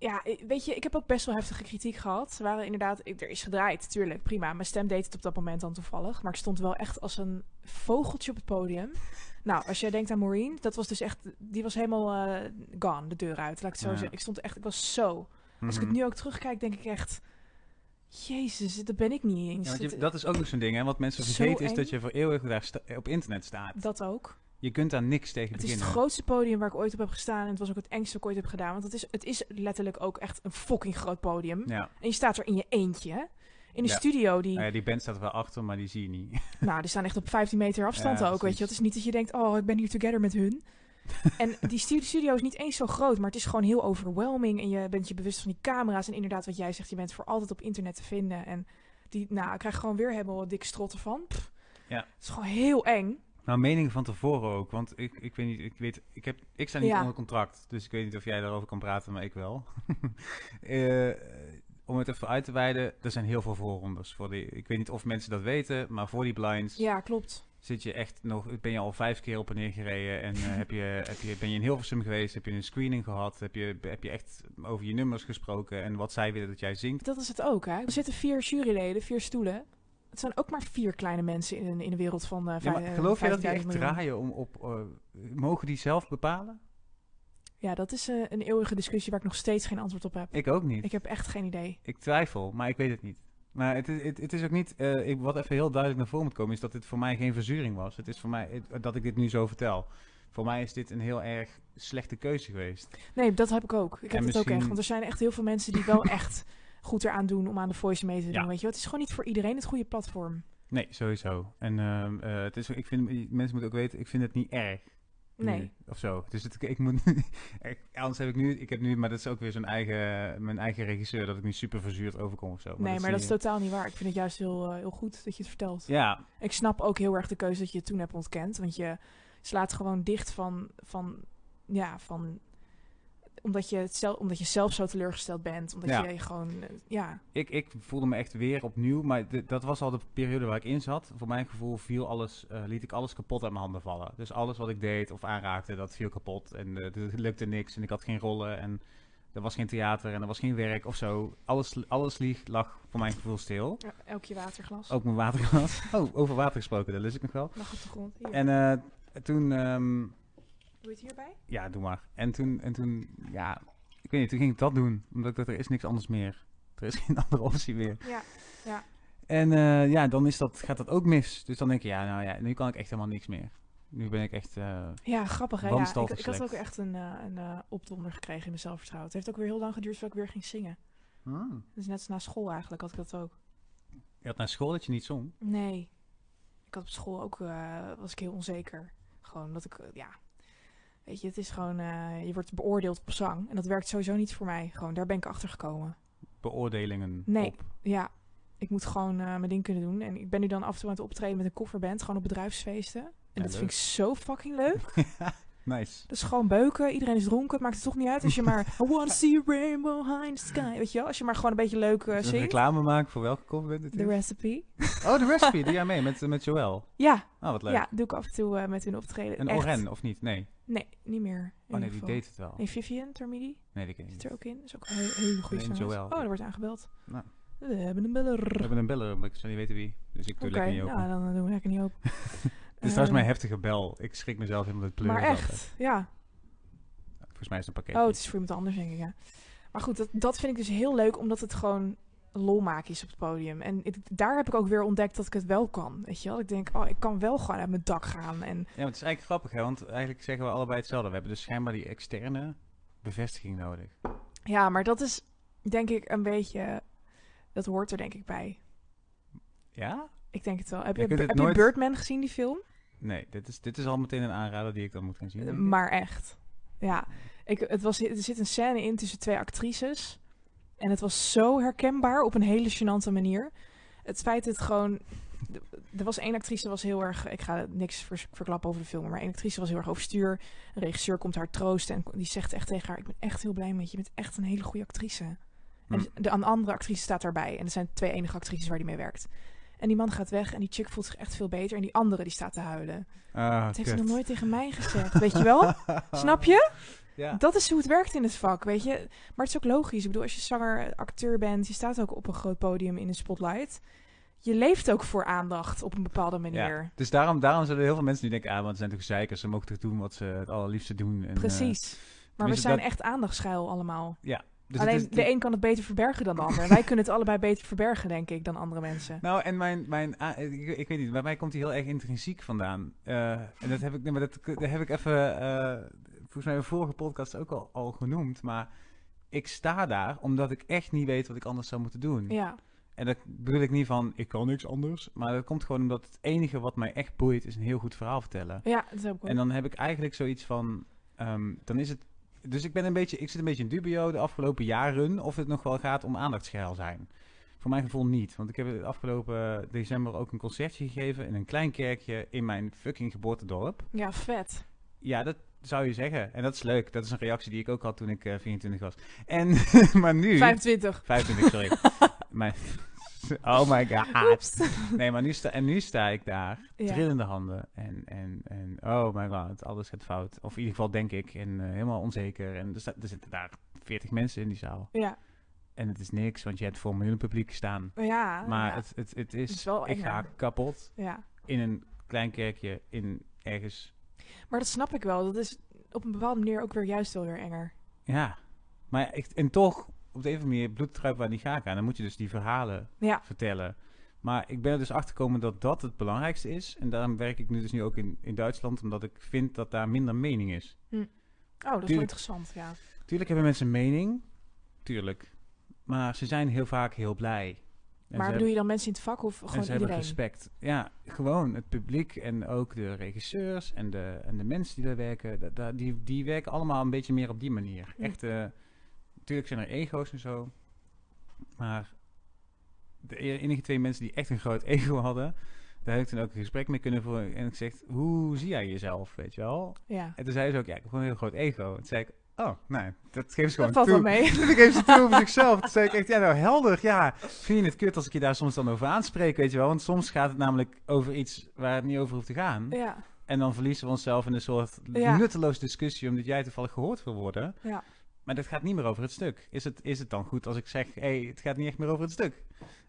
B: Ja, eh, weet je, ik heb ook best wel heftige kritiek gehad. Ze waren inderdaad... ik- Er is gedraaid, tuurlijk, prima. Mijn stem deed het op dat moment dan toevallig. Maar ik stond wel echt als een vogeltje op het podium. Nou, als jij denkt aan Maureen, dat was dus echt... Die was helemaal eh, gone, de deur uit. Laat ik het zo
A: Ja.
B: zeggen. Ik stond echt... Ik was zo... Als ik
A: Mhm.
B: het nu ook terugkijk, denk ik echt... Jezus, dat ben ik niet eens.
A: Ja, want je-
B: dat,
A: dat is ook nog zo'n ding, hè? Wat mensen
B: Zo
A: vergeten is
B: eng.
A: dat je voor eeuwig daar sta- op internet staat.
B: dat ook.
A: Je kunt daar niks tegen
B: Het is het
A: beginnen.
B: grootste podium waar ik ooit op heb gestaan. En het was ook het engste wat ik ooit heb gedaan. Want het is, het is letterlijk ook echt een fucking groot podium.
A: ja.
B: En je staat er in je eentje. hè? In de
A: Ja.
B: studio die...
A: Nou ja, die band staat er wel achter, maar die zie je niet.
B: Nou, die staan echt op 15 meter afstand
A: Ja,
B: ook, weet
A: precies.
B: je. Het is niet dat je denkt, oh, ik ben hier together met hun. en die stu- studio is niet eens zo groot, maar het is gewoon heel overwhelming. En je bent je bewust van die camera's. En inderdaad, wat jij zegt, je bent voor altijd op internet te vinden. En die, nou, ik krijg gewoon weer helemaal dik strotten van. Pff.
A: Ja.
B: Het is gewoon heel eng.
A: Nou, meningen van tevoren ook. Want ik, ik weet niet, ik weet, ik heb, ik sta niet
B: Ja.
A: onder contract. Dus ik weet niet of jij daarover kan praten, maar ik wel. Eh, om het even uit te wijden, er zijn heel veel voorrondes. Voor die, ik weet niet of mensen dat weten, maar voor die blinds
B: Ja, klopt.
A: zit je echt nog, ben je al vijf keer op en neer gereden. En eh, heb je, heb je, ben je in Hilversum geweest, heb je een screening gehad, heb je, heb je echt over je nummers gesproken en wat zij willen dat jij zingt.
B: Dat is het ook, hè? Er zitten vier juryleden, vier stoelen. Het zijn ook maar vier kleine mensen in, in de wereld van eh
A: Ja,
B: vijf-
A: maar geloof je dat die
B: 15.000
A: echt
B: miljoen.
A: draaien om op, eh, mogen die zelf bepalen?
B: Ja, dat is eh, een eeuwige discussie waar ik nog steeds geen antwoord op heb.
A: Ik ook niet.
B: Ik heb echt geen idee.
A: Ik twijfel, maar ik weet het niet. Maar het is, het, het is ook niet, eh, ik, wat even heel duidelijk naar voren moet komen, is dat dit voor mij geen verzuring was. Het is voor mij, het- dat ik dit nu zo vertel. Voor mij is dit een heel erg slechte keuze geweest.
B: Nee, dat heb ik ook. Ik heb
A: En
B: dat ook echt.
A: misschien-
B: Want er zijn echt heel veel mensen die wel echt goed eraan doen om aan de voice mee te doen.
A: Ja.
B: Weet je, wel. het is gewoon niet voor iedereen het goede platform.
A: Nee, sowieso. En ehm, eh, het is, ik vind, mensen moeten ook weten, ik vind het niet erg.
B: Nee.
A: Nu, of zo. Dus het, ik moet, ik- anders heb ik nu, ik heb nu, maar dat is ook weer zo'n eigen, mijn eigen regisseur, dat ik nu super verzuurd overkom of zo.
B: nee, maar dat is
A: zie je-
B: totaal niet waar. Ik vind het juist heel, eh, heel goed dat je het vertelt.
A: Ja,
B: Ik snap ook heel erg de keuze dat je het toen hebt ontkend. Want je slaat gewoon dicht van. van ja, van. Omdat je, het zelf, omdat je zelf zo teleurgesteld bent. Omdat
A: Ja.
B: je gewoon. eh, Ja,
A: ik, ik voelde me echt weer opnieuw, maar d- dat was al de periode waar ik in zat. Voor mijn gevoel viel alles, eh, liet ik alles kapot uit mijn handen vallen. Dus alles wat ik deed of aanraakte, dat viel kapot. En eh, er lukte niks en ik had geen rollen en er was geen theater en er was geen werk of zo. Alles, alles lieg, lag voor mijn gevoel stil.
B: elk je waterglas.
A: Ook mijn waterglas. Oh, over water gesproken, dat lust ik nog wel.
B: Lag op de grond. Hier.
A: En eh, toen... ehm,
B: Doe je het hierbij?
A: ja, doe maar. En toen, en toen, ja, ik weet niet, toen ging ik dat doen. Omdat ik dacht, er is niks anders meer. Er is geen andere optie meer.
B: Ja, ja.
A: En eh, ja, dan is dat, gaat dat ook mis. Dus dan denk je, ja, nou ja, nu kan ik echt helemaal niks meer. Nu ben ik echt, eh,
B: Ja, grappig hè. Ja, ik,
A: Wanstaltig
B: ik had ook
A: slecht.
B: echt een, eh, een eh, opdonder gekregen in mijn zelfvertrouwen. Het heeft ook weer heel lang geduurd voordat ik weer ging zingen.
A: hmm.
B: Dus net als na school eigenlijk had ik dat ook.
A: je had naar school dat je niet zong.
B: Nee. Ik had op school ook, eh, was ik heel onzeker. Gewoon omdat ik, eh, ja. Weet je, het is gewoon, eh, je wordt beoordeeld op zang. En dat werkt sowieso niet voor mij. Gewoon, daar ben ik achter gekomen.
A: Beoordelingen
B: Nee.
A: op.
B: Ja, ik moet gewoon eh, mijn ding kunnen doen. En ik ben nu dan af en toe aan het optreden met een kofferband. Gewoon op bedrijfsfeesten. En
A: Ja,
B: dat
A: leuk.
B: vind ik zo fucking leuk.
A: Nice.
B: Dat is gewoon beuken. Iedereen is dronken. Het maakt het toch niet uit als je maar... I want to see a rainbow high in the sky. Weet je wel? Als je maar gewoon een beetje leuk eh,
A: Zullen we
B: zingt.
A: Dus reclame maken voor welke koffer bent het?
B: The recipe.
A: Oh, de recipe, doe jij mee met, met Joël.
B: Ja,
A: Nou, wat leuk.
B: ja, doe ik af en toe eh, met hun optreden.
A: en
B: Echt.
A: Oren, of niet? Nee.
B: Nee, niet meer. in
A: Oh nee,
B: ieder
A: die
B: geval.
A: deed het wel.
B: Nee, Vivian Termidi
A: Nee, die ken ik
B: zit
A: niet.
B: er ook in. Is ook een hele, hele goede
A: Alleen
B: zangeres.
A: Joël.
B: Oh, er wordt aangebeld.
A: Nou.
B: We hebben een
A: We
B: beller.
A: hebben een beller, maar ik zou niet weten wie. Dus ik
B: Oké,
A: doe lekker niet open.
B: nou dan doen we lekker niet open.
A: Het is trouwens mijn heftige bel. Ik schrik mezelf helemaal het pleuren.
B: Maar
A: zelf uit.
B: echt, ja.
A: Volgens mij is het een
B: Oh,
A: pakket.
B: het is voor iemand anders, denk ik. Ja. Maar goed, dat, dat vind ik dus heel leuk, omdat het gewoon lol maken is op het podium. En ik- daar heb ik ook weer ontdekt dat ik het wel kan. Weet je wel? Ik denk, oh, ik kan wel gewoon uit mijn dak gaan. En
A: Ja, maar het is eigenlijk grappig, hè? Want eigenlijk zeggen we allebei hetzelfde. We hebben dus schijnbaar die externe bevestiging nodig.
B: ja, maar dat is denk ik een beetje. Dat hoort er denk ik bij.
A: Ja?
B: Ik denk het wel. Heb
A: Je
B: je,
A: kunt het
B: heb
A: nooit-
B: je Birdman gezien, die film?
A: Nee, dit is, dit is al meteen een aanrader die ik dan moet gaan zien.
B: Eh,
A: denk ik.
B: Maar echt. Ja. Ik, het was, er zit een scène in tussen twee actrices. En het was zo herkenbaar op een hele gênante manier. Het feit dat het gewoon... d- Er was één actrice was heel erg... Ik ga niks vers- verklappen over de film. Maar één actrice was heel erg overstuur. Een regisseur komt haar troosten. En die zegt echt tegen haar... Ik ben echt heel blij met je. Je bent echt een hele goede actrice.
A: Hm.
B: En de een andere actrice staat daarbij. En er zijn twee enige actrices waar die mee werkt. En die man gaat weg en die chick voelt zich echt veel beter. En die andere die staat te huilen.
A: Ah,
B: Dat heeft ze
A: kut.
B: nog nooit tegen mij gezegd. Weet je wel? Snap je?
A: Ja.
B: Dat is hoe het werkt in het vak, weet je. Maar het is ook logisch. Ik bedoel, als je zanger, eh, acteur bent, je staat ook op een groot podium in een spotlight. Je leeft ook voor aandacht op een bepaalde manier.
A: Ja. Dus daarom, daarom zullen heel veel mensen nu denken, ah, want ze zijn toch zeikers, ze mogen toch doen wat ze het allerliefste doen. En, eh,
B: Precies. maar we
A: tenminste,
B: zijn
A: dat-
B: echt aandachtschuil allemaal.
A: dus het
B: Alleen
A: is-
B: de een kan het beter verbergen dan de ander. En wij kunnen het allebei beter verbergen, denk ik, dan andere mensen.
A: Nou, en mijn, mijn ah, ik, ik weet niet, bij mij komt hij heel erg intrinsiek vandaan. Eh, en dat heb ik, nee, maar dat, dat heb ik even, eh, volgens mij in de vorige podcast ook al, al genoemd. Maar ik sta daar omdat ik echt niet weet wat ik anders zou moeten doen.
B: Ja,
A: En dat bedoel ik niet van, ik kan niks anders. Maar dat komt gewoon omdat het enige wat mij echt boeit, is een heel goed verhaal vertellen.
B: ja dat heb ik ook.
A: En dan heb ik eigenlijk zoiets van, ehm, dan is het... Dus ik ben een beetje, ik zit een beetje in dubio de afgelopen jaren of het nog wel gaat om aandachtsgeil zijn. Voor mijn gevoel niet, want ik heb het afgelopen december ook een concertje gegeven in een klein kerkje in mijn fucking geboortedorp.
B: Ja, vet.
A: Ja, dat zou je zeggen. En dat is leuk. Dat is een reactie die ik ook had toen ik eh, 24 was. En, maar nu...
B: 25.
A: 25, sorry. mijn, oh my god. Nee, maar nu sta, en nu sta ik daar,
B: Ja.
A: trillende handen. En, en, en oh my god, alles gaat fout. Of in ieder geval denk ik, en eh, helemaal onzeker. En er, sta- er zitten daar 40 mensen in die zaal.
B: Ja,
A: En het is niks, want je hebt voor een miljoen publiek staan.
B: ja.
A: Maar
B: Ah, ja.
A: het, het, het
B: Het is
A: is,
B: wel
A: ik
B: eng,
A: ga
B: hè?
A: kapot
B: ja.
A: in een klein kerkje, in ergens.
B: Maar dat snap ik wel. Dat is op een bepaalde manier ook weer juist wel weer enger.
A: Ja, maar ik, en toch, op de een of andere manier, bloedtruip waar die ga aan. Dan moet je dus die verhalen
B: Ja.
A: vertellen. Maar ik ben er dus achter gekomen dat dat het belangrijkste is. En daarom werk ik nu dus nu ook in, in Duitsland, omdat ik vind dat daar minder mening is.
B: Oh, dat is wel
A: Tuurlijk.
B: interessant, ja.
A: Tuurlijk hebben mensen mening. Tuurlijk. Maar ze zijn heel vaak heel blij. En
B: maar
A: ze
B: bedoel je dan mensen in het vak of
A: en
B: gewoon
A: ze
B: iedereen?
A: hebben respect. Ja, gewoon het publiek en ook de regisseurs en de, en de mensen die daar werken. da- da- die, die werken allemaal een beetje meer op die manier.
B: Mm.
A: Echt, eh, natuurlijk zijn er ego's en zo. Maar de e- enige twee mensen die echt een groot ego hadden, daar heb ik toen ook een gesprek mee kunnen voeren. En ik zeg, hoe zie jij jezelf, weet je wel?
B: Ja.
A: En toen zei ze ook, ja, ik heb gewoon een heel groot ego. Toen zei ik, oh, nee, dat geeft ze gewoon
B: Dat valt
A: toe.
B: wel mee.
A: Toen geef ze toe over zichzelf. Toen zei ik echt, ja nou helder, ja. Vind je het kut als ik je daar soms dan over aanspreek, weet je wel? Want soms gaat het namelijk over iets waar het niet over hoeft te gaan.
B: Ja,
A: En dan verliezen we onszelf in een soort
B: Ja.
A: nutteloos discussie... omdat jij toevallig gehoord wil worden.
B: Ja.
A: Maar dat gaat niet meer over het stuk. Is het, is het dan goed als ik zeg, hé, hey, het gaat niet echt meer over het stuk?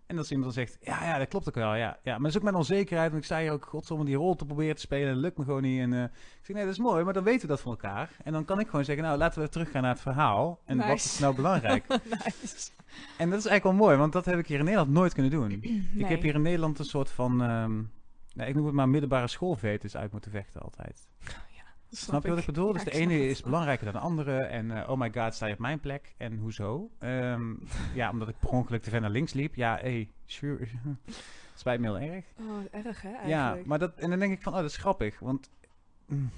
A: En als iemand dan zegt, ja, ja, dat klopt ook wel, ja. ja maar dat is ook mijn onzekerheid, want ik sta hier ook godsom die rol te proberen te spelen. en dat lukt me gewoon niet. En eh, ik zeg, nee, dat is mooi, maar dan weten we dat van elkaar. En dan kan ik gewoon zeggen, nou, laten we teruggaan naar het verhaal. En wat is
B: Nice.
A: nou belangrijk?
B: nice.
A: En dat is eigenlijk wel mooi, want dat heb ik hier in Nederland nooit kunnen doen.
B: Nee.
A: Ik heb hier in Nederland een soort van, ehm, nou, ik noem het maar middelbare schoolveters uit moeten vechten altijd. Snap je wat ik bedoel?
B: Ja,
A: dus de
B: ik snap
A: ene
B: het.
A: is belangrijker dan de andere. En eh, oh my god, sta je op mijn plek? En hoezo? Ehm, ja, omdat ik per ongeluk te ver naar links liep. Ja, hé, sure. Spijt me heel erg.
B: Oh, erg hè,
A: Ja,
B: eigenlijk.
A: maar dat, en dan denk ik van, oh, dat is grappig. Want mm,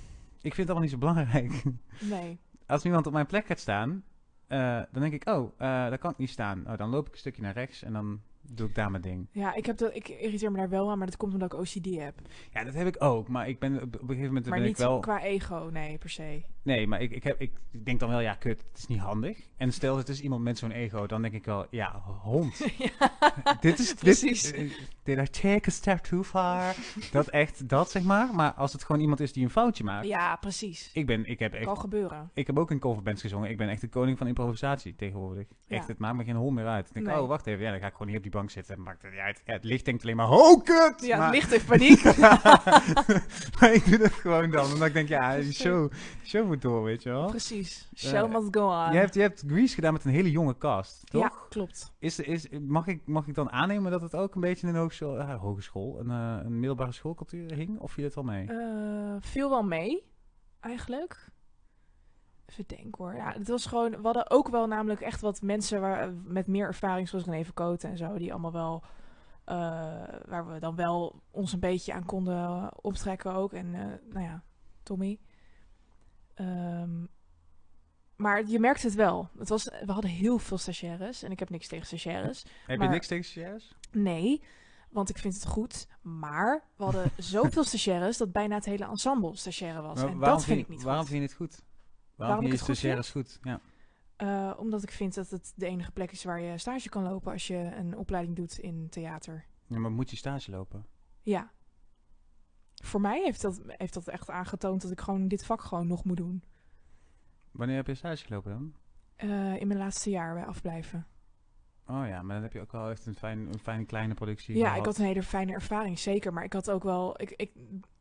A: ik vind het allemaal niet zo belangrijk.
B: Nee.
A: Als iemand op mijn plek gaat staan, eh, dan denk ik, oh, eh, daar kan ik niet staan. Oh, dan loop ik een stukje naar rechts en dan doe ik daar mijn ding.
B: Ja, ik, heb dat, ik irriteer me daar wel aan, maar dat komt omdat ik OCD heb.
A: Ja, dat heb ik ook. Maar ik ben op op een gegeven moment
B: maar
A: ben
B: niet
A: ik wel...
B: qua ego, nee, per se.
A: Nee, maar ik, ik, heb, ik denk dan wel, ja, kut, het is niet handig. En stel, het is iemand met zo'n ego, dan denk ik wel, ja, hond.
B: ja.
A: dit is, dit
B: Precies.
A: is, did I take a step too far? dat echt, dat zeg maar. Maar als het gewoon iemand is die een foutje maakt.
B: ja, precies.
A: Ik ben, ik heb echt,
B: Kan gebeuren.
A: ik heb ook in coverbands gezongen. Ik ben echt de koning van improvisatie tegenwoordig. Echt,
B: Ja.
A: het maakt me geen hol meer uit. Ik denk,
B: Nee.
A: oh, wacht even, ja, dan ga ik gewoon hier op die bank zitten. Maakt het niet uit. Ja, het licht denkt alleen maar, oh, kut!
B: Ja,
A: maar,
B: het ligt in paniek.
A: maar ik doe dat gewoon dan, omdat ik denk, ja, die show, die show moet door, weet je wel.
B: precies. Show must go on.
A: Eh, Je hebt, je hebt Grease gedaan met een hele jonge cast, toch?
B: ja, klopt.
A: Is, is, mag, ik, mag ik dan aannemen dat het ook een beetje in een hogeschool, ah, hogeschool een, eh, een middelbare schoolcultuur hing? Of viel het wel mee?
B: Eh, viel wel mee, eigenlijk. Even denken hoor. Ja, het was gewoon... We hadden ook wel namelijk echt wat mensen waar, met meer ervaring, zoals René Verkoten en zo, die allemaal wel... eh, waar we dan wel ons een beetje aan konden optrekken ook. En eh, nou ja, Tommy. Ehm, maar je merkt het wel. Het was, we hadden heel veel stagiaires. En ik heb niks tegen stagiaires.
A: Heb
B: maar-
A: je niks tegen stagiaires?
B: Nee, want ik vind het goed. Maar we hadden zoveel stagiaires dat bijna het hele ensemble stagiaire was.
A: Maar
B: en
A: waarom
B: dat vind
A: je-
B: ik niet
A: Waarom
B: goed.
A: vind je het goed?
B: Waarom
A: Waarom,
B: ik
A: vind je
B: het goed
A: stagiaires goed? Ja.
B: Eh, omdat ik vind dat het de enige plek is waar je stage kan lopen als je een opleiding doet in theater.
A: Ja, maar moet je stage lopen?
B: Ja. Voor mij heeft dat, heeft dat echt aangetoond dat ik gewoon dit vak gewoon nog moet doen.
A: Wanneer heb je stage gelopen dan?
B: Eh, in mijn laatste jaar bij afblijven.
A: Oh ja, maar dan heb je ook wel echt een, fijn, een fijne kleine productie
B: ja,
A: gehad.
B: ik had een hele fijne ervaring, zeker. Maar ik had ook wel. Ik, ik,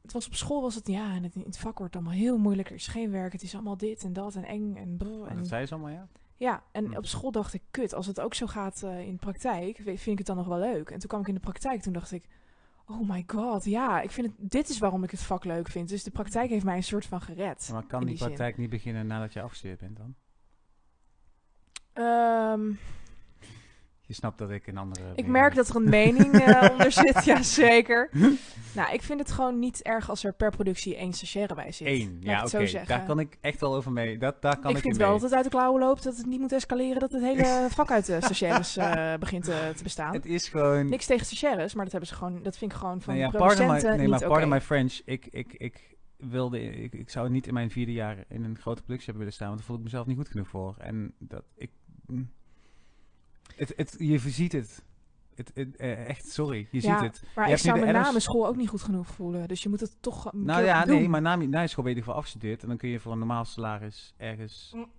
B: het was op school was het. Ja, en het, in het vak wordt het allemaal heel moeilijk. Er is geen werk. Het is allemaal dit en dat en eng en brrr.
A: Oh,
B: En,
A: Dat zei ze allemaal, ja?
B: Ja,
A: Hm.
B: en op school dacht ik, kut, als het ook zo gaat eh, in de praktijk, we- vind ik het dan nog wel leuk. En toen kwam ik in de praktijk, toen dacht ik, oh my god, ja, ik vind het, dit is waarom ik het vak leuk vind. Dus de praktijk heeft mij een soort van gered.
A: Ja, Maar kan
B: in
A: die
B: die zin.
A: praktijk niet beginnen nadat je afgestudeerd bent dan?
B: Ehm,
A: Je snapt dat ik een andere...
B: ik
A: mening
B: merk
A: heb.
B: dat er een mening eh, onder zit, ja zeker. nou, ik vind het gewoon niet erg als er per productie één stagiaire bij zit.
A: Eén,
B: Laat ik
A: ja
B: het
A: oké.
B: zo zeggen.
A: Daar kan ik echt wel over mee. Dat, daar kan
B: ik
A: ik,
B: vind
A: in
B: wel
A: mee.
B: dat het uit de klauwen loopt, dat het niet moet escaleren, dat het hele vak uit de stagiaires eh, begint eh, te bestaan.
A: Het is gewoon...
B: Niks tegen stagiaires, maar dat hebben ze gewoon, dat vind ik gewoon van
A: Nou ja, pardon my,
B: producenten
A: Mm. nee,
B: niet
A: maar pardon
B: oké.
A: my French. Ik, ik, ik, wilde, ik, ik zou niet in mijn vierde jaar in een grote productie hebben willen staan, want daar voel ik mezelf niet goed genoeg voor. En dat ik. mm. Het, het, je ziet het. het, het, eh, echt, sorry, je
B: Ja,
A: ziet het.
B: Maar
A: Je hebt
B: ik
A: nu
B: zou
A: de
B: mijn
A: NS
B: naam school ook niet goed genoeg voelen. Dus je moet het toch een
A: Nou
B: keer
A: ja,
B: doen.
A: nee, maar na, na je school ben je in ieder geval afgestudeerd en dan kun je voor een normaal salaris ergens.
B: Mm.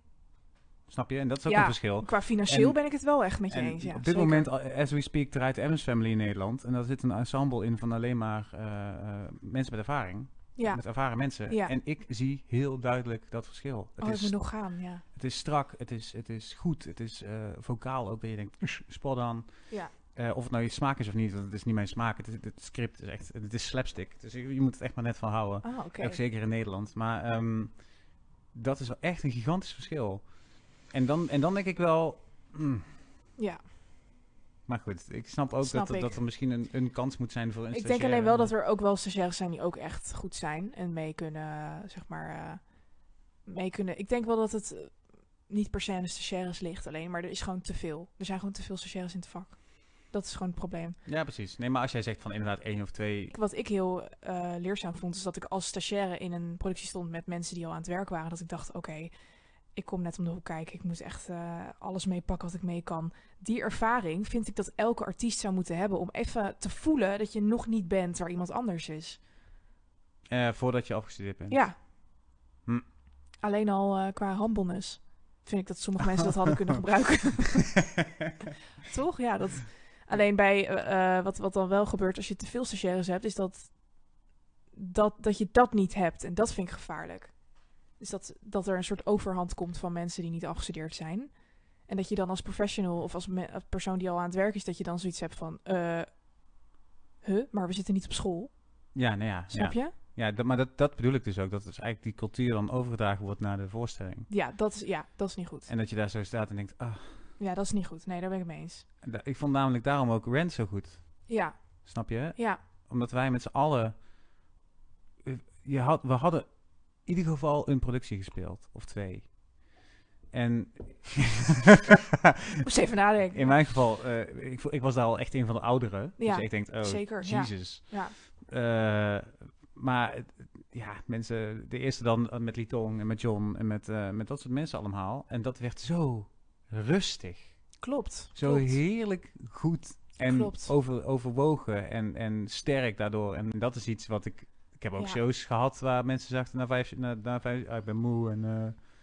A: Snap je? En dat is ook
B: Ja,
A: een verschil.
B: Qua financieel
A: en-
B: ben ik het wel echt met je
A: En
B: eens. Ja,
A: op dit
B: zeker.
A: moment, a- as we speak, draait de Adams Family in Nederland. En daar zit een ensemble in van alleen maar eh, eh, mensen met ervaring.
B: Ja.
A: met ervaren mensen.
B: Ja.
A: En ik zie heel duidelijk dat verschil. Het,
B: Oh, ik
A: is,
B: moet nog gaan, ja.
A: het is strak, het is, het is goed, het is eh, vocaal ook dat je denkt, "Ush, spot aan.
B: Ja.
A: of het nou je smaak is of niet, want het is niet mijn smaak. Het, het, het script is echt, het is slapstick. Dus je, je moet het echt maar net van houden.
B: Ah, oké.
A: Ook zeker in Nederland. Maar ehm, dat is wel echt een gigantisch verschil. En dan, en dan denk ik wel... mm,
B: Ja.
A: maar goed, ik snap ook
B: Snap
A: dat, er-
B: ik.
A: dat er misschien een, een kans moet zijn voor een
B: Ik denk alleen
A: stagiaire.
B: wel dat er ook wel stagiaires zijn die ook echt goed zijn. En mee kunnen, zeg maar, eh, mee kunnen. Ik denk wel dat het eh, niet per se aan de stagiaires ligt alleen. Maar er is gewoon te veel. Er zijn gewoon te veel stagiaires in het vak. Dat is gewoon het probleem.
A: Ja, precies. Nee, maar als jij zegt van inderdaad één of twee...
B: Ik- Wat ik heel eh, leerzaam vond, is dat ik als stagiaire in een productie stond met mensen die al aan het werk waren. Dat ik dacht, oké, ik kom net om de hoek kijken. Ik moet echt eh, alles meepakken wat ik mee kan. Die ervaring vind ik dat elke artiest zou moeten hebben. Om even te voelen dat je nog niet bent waar iemand anders is.
A: eh, voordat je afgestudeerd bent.
B: Ja.
A: Hm.
B: Alleen al eh, qua humbleness vind ik dat sommige mensen dat hadden kunnen gebruiken. Toch? Ja, dat... Alleen bij eh, eh, wat, wat dan wel gebeurt als je te veel stagiaires hebt, is dat, dat, dat je dat niet hebt. En dat vind ik gevaarlijk. Dus dat, dat er een soort overhand komt van mensen die niet afgestudeerd zijn. En dat je dan als professional of als me- als persoon die al aan het werk is, dat je dan zoiets hebt van... eh huh, maar we zitten niet op school.
A: Ja, nou ja. ja.
B: Snap je?
A: Ja, dat, maar dat, dat bedoel ik dus ook. Dat dus eigenlijk die cultuur dan overgedragen wordt naar de voorstelling.
B: Ja dat, is, ja, dat is niet goed.
A: En dat je daar zo staat en denkt, ah,
B: Ja, dat is niet goed. Nee, daar ben ik mee eens.
A: da- ik vond namelijk daarom ook Rent zo goed.
B: Ja,
A: Snap je?
B: ja,
A: Omdat wij met z'n allen, eh, je had, we hadden in ieder geval een productie gespeeld. Of twee. En
B: moest even nadenken.
A: in mijn geval, eh, ik, vo- ik was daar al echt een van de ouderen.
B: Ja,
A: dus ik denk, oh,
B: zeker, ja.
A: Jesus.
B: Ja,
A: Eh, maar het- ja, mensen, de eerste dan eh, met Litong en met John en met, eh, met dat soort mensen allemaal. En dat werd zo rustig,
B: klopt.
A: zo
B: klopt.
A: heerlijk goed en
B: Klopt.
A: over, overwogen en, en sterk daardoor. En dat is iets wat ik, ik heb ook
B: Ja.
A: shows gehad waar mensen zaten na vijf, na, na vijf ah, ik ben moe en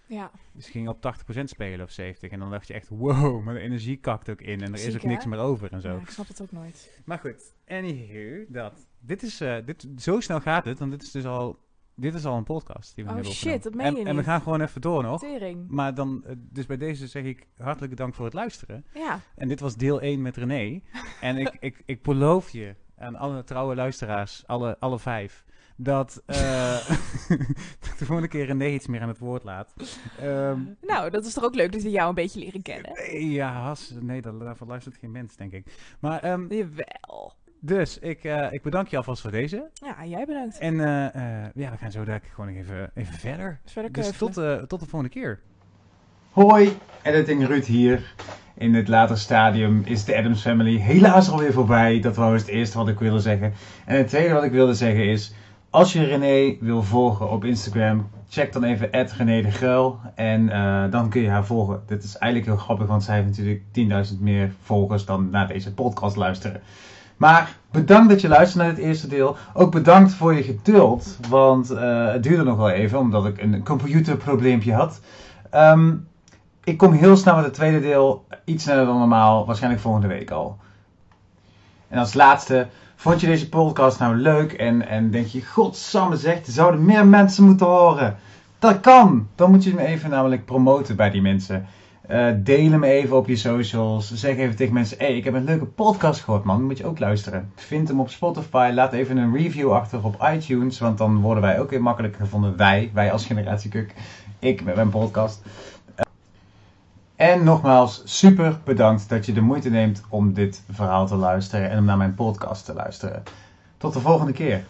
A: eh,
B: Ja,
A: ze gingen op 80% spelen of 70. En dan dacht je echt, wow, maar de energie kakt ook in en er is
B: Ziek,
A: ook
B: hè?
A: niks meer over en zo.
B: ja, ik snap het ook nooit.
A: Maar goed, anywho, dat. Dit is, eh, dit, zo snel gaat het, want dit is dus al, dit is al een podcast die we
B: Oh,
A: hebben
B: shit,
A: opgenomen.
B: dat meen
A: en,
B: je
A: En we
B: niet.
A: gaan gewoon even door nog.
B: Tering.
A: Maar dan, eh, dus bij deze zeg ik hartelijk dank voor het luisteren.
B: Ja,
A: En dit was deel 1 met René. en ik, ik, ik beloof je aan alle trouwe luisteraars, alle, alle vijf, dat, eh, dat de volgende keer René iets meer aan het woord laat. Ehm,
B: nou, dat is toch ook leuk dat we jou een beetje leren kennen?
A: ja, has, nee, daar- daarvoor luistert geen mens, denk ik. Maar ehm,
B: Jawel.
A: dus, ik, eh, ik bedank je alvast voor deze.
B: Ja, jij bedankt.
A: En eh, eh, ja, we gaan zo dadelijk gewoon nog even, even verder.
B: Dus verder
A: Dus
B: keuvelen.
A: tot, eh, tot de volgende keer. Hoi, Editing Ruud hier. In dit later stadium is de Adams Family helaas alweer voorbij. Dat was het eerste wat ik wilde zeggen. En het tweede wat ik wilde zeggen is... Als je René wil volgen op Instagram, check dan even René de Gruil. En eh, dan kun je haar volgen. Dit is eigenlijk heel grappig, want zij heeft natuurlijk 10.000 meer volgers dan naar deze podcast luisteren. Maar bedankt dat je luistert naar dit eerste deel. Ook bedankt voor je geduld, want eh, het duurde nog wel even, omdat ik een computerprobleempje had. Ehm, ik kom heel snel met het tweede deel, iets sneller dan normaal, waarschijnlijk volgende week al. En als laatste, Vond je deze podcast nou leuk en, en denk je, godsamme zegt, zouden meer mensen moeten horen? Dat kan! Dan moet je hem even namelijk promoten bij die mensen. Eh, deel hem even op je socials. Zeg even tegen mensen, hé, hey, ik heb een leuke podcast gehoord man, moet je ook luisteren. Vind hem op Spotify, laat even een review achter op iTunes, want dan worden wij ook weer makkelijker gevonden. Wij, wij als Generatie Kuk, ik met mijn podcast. Eh, en nogmaals, super bedankt dat je de moeite neemt om dit verhaal te luisteren en om naar mijn podcast te luisteren. Tot de volgende keer.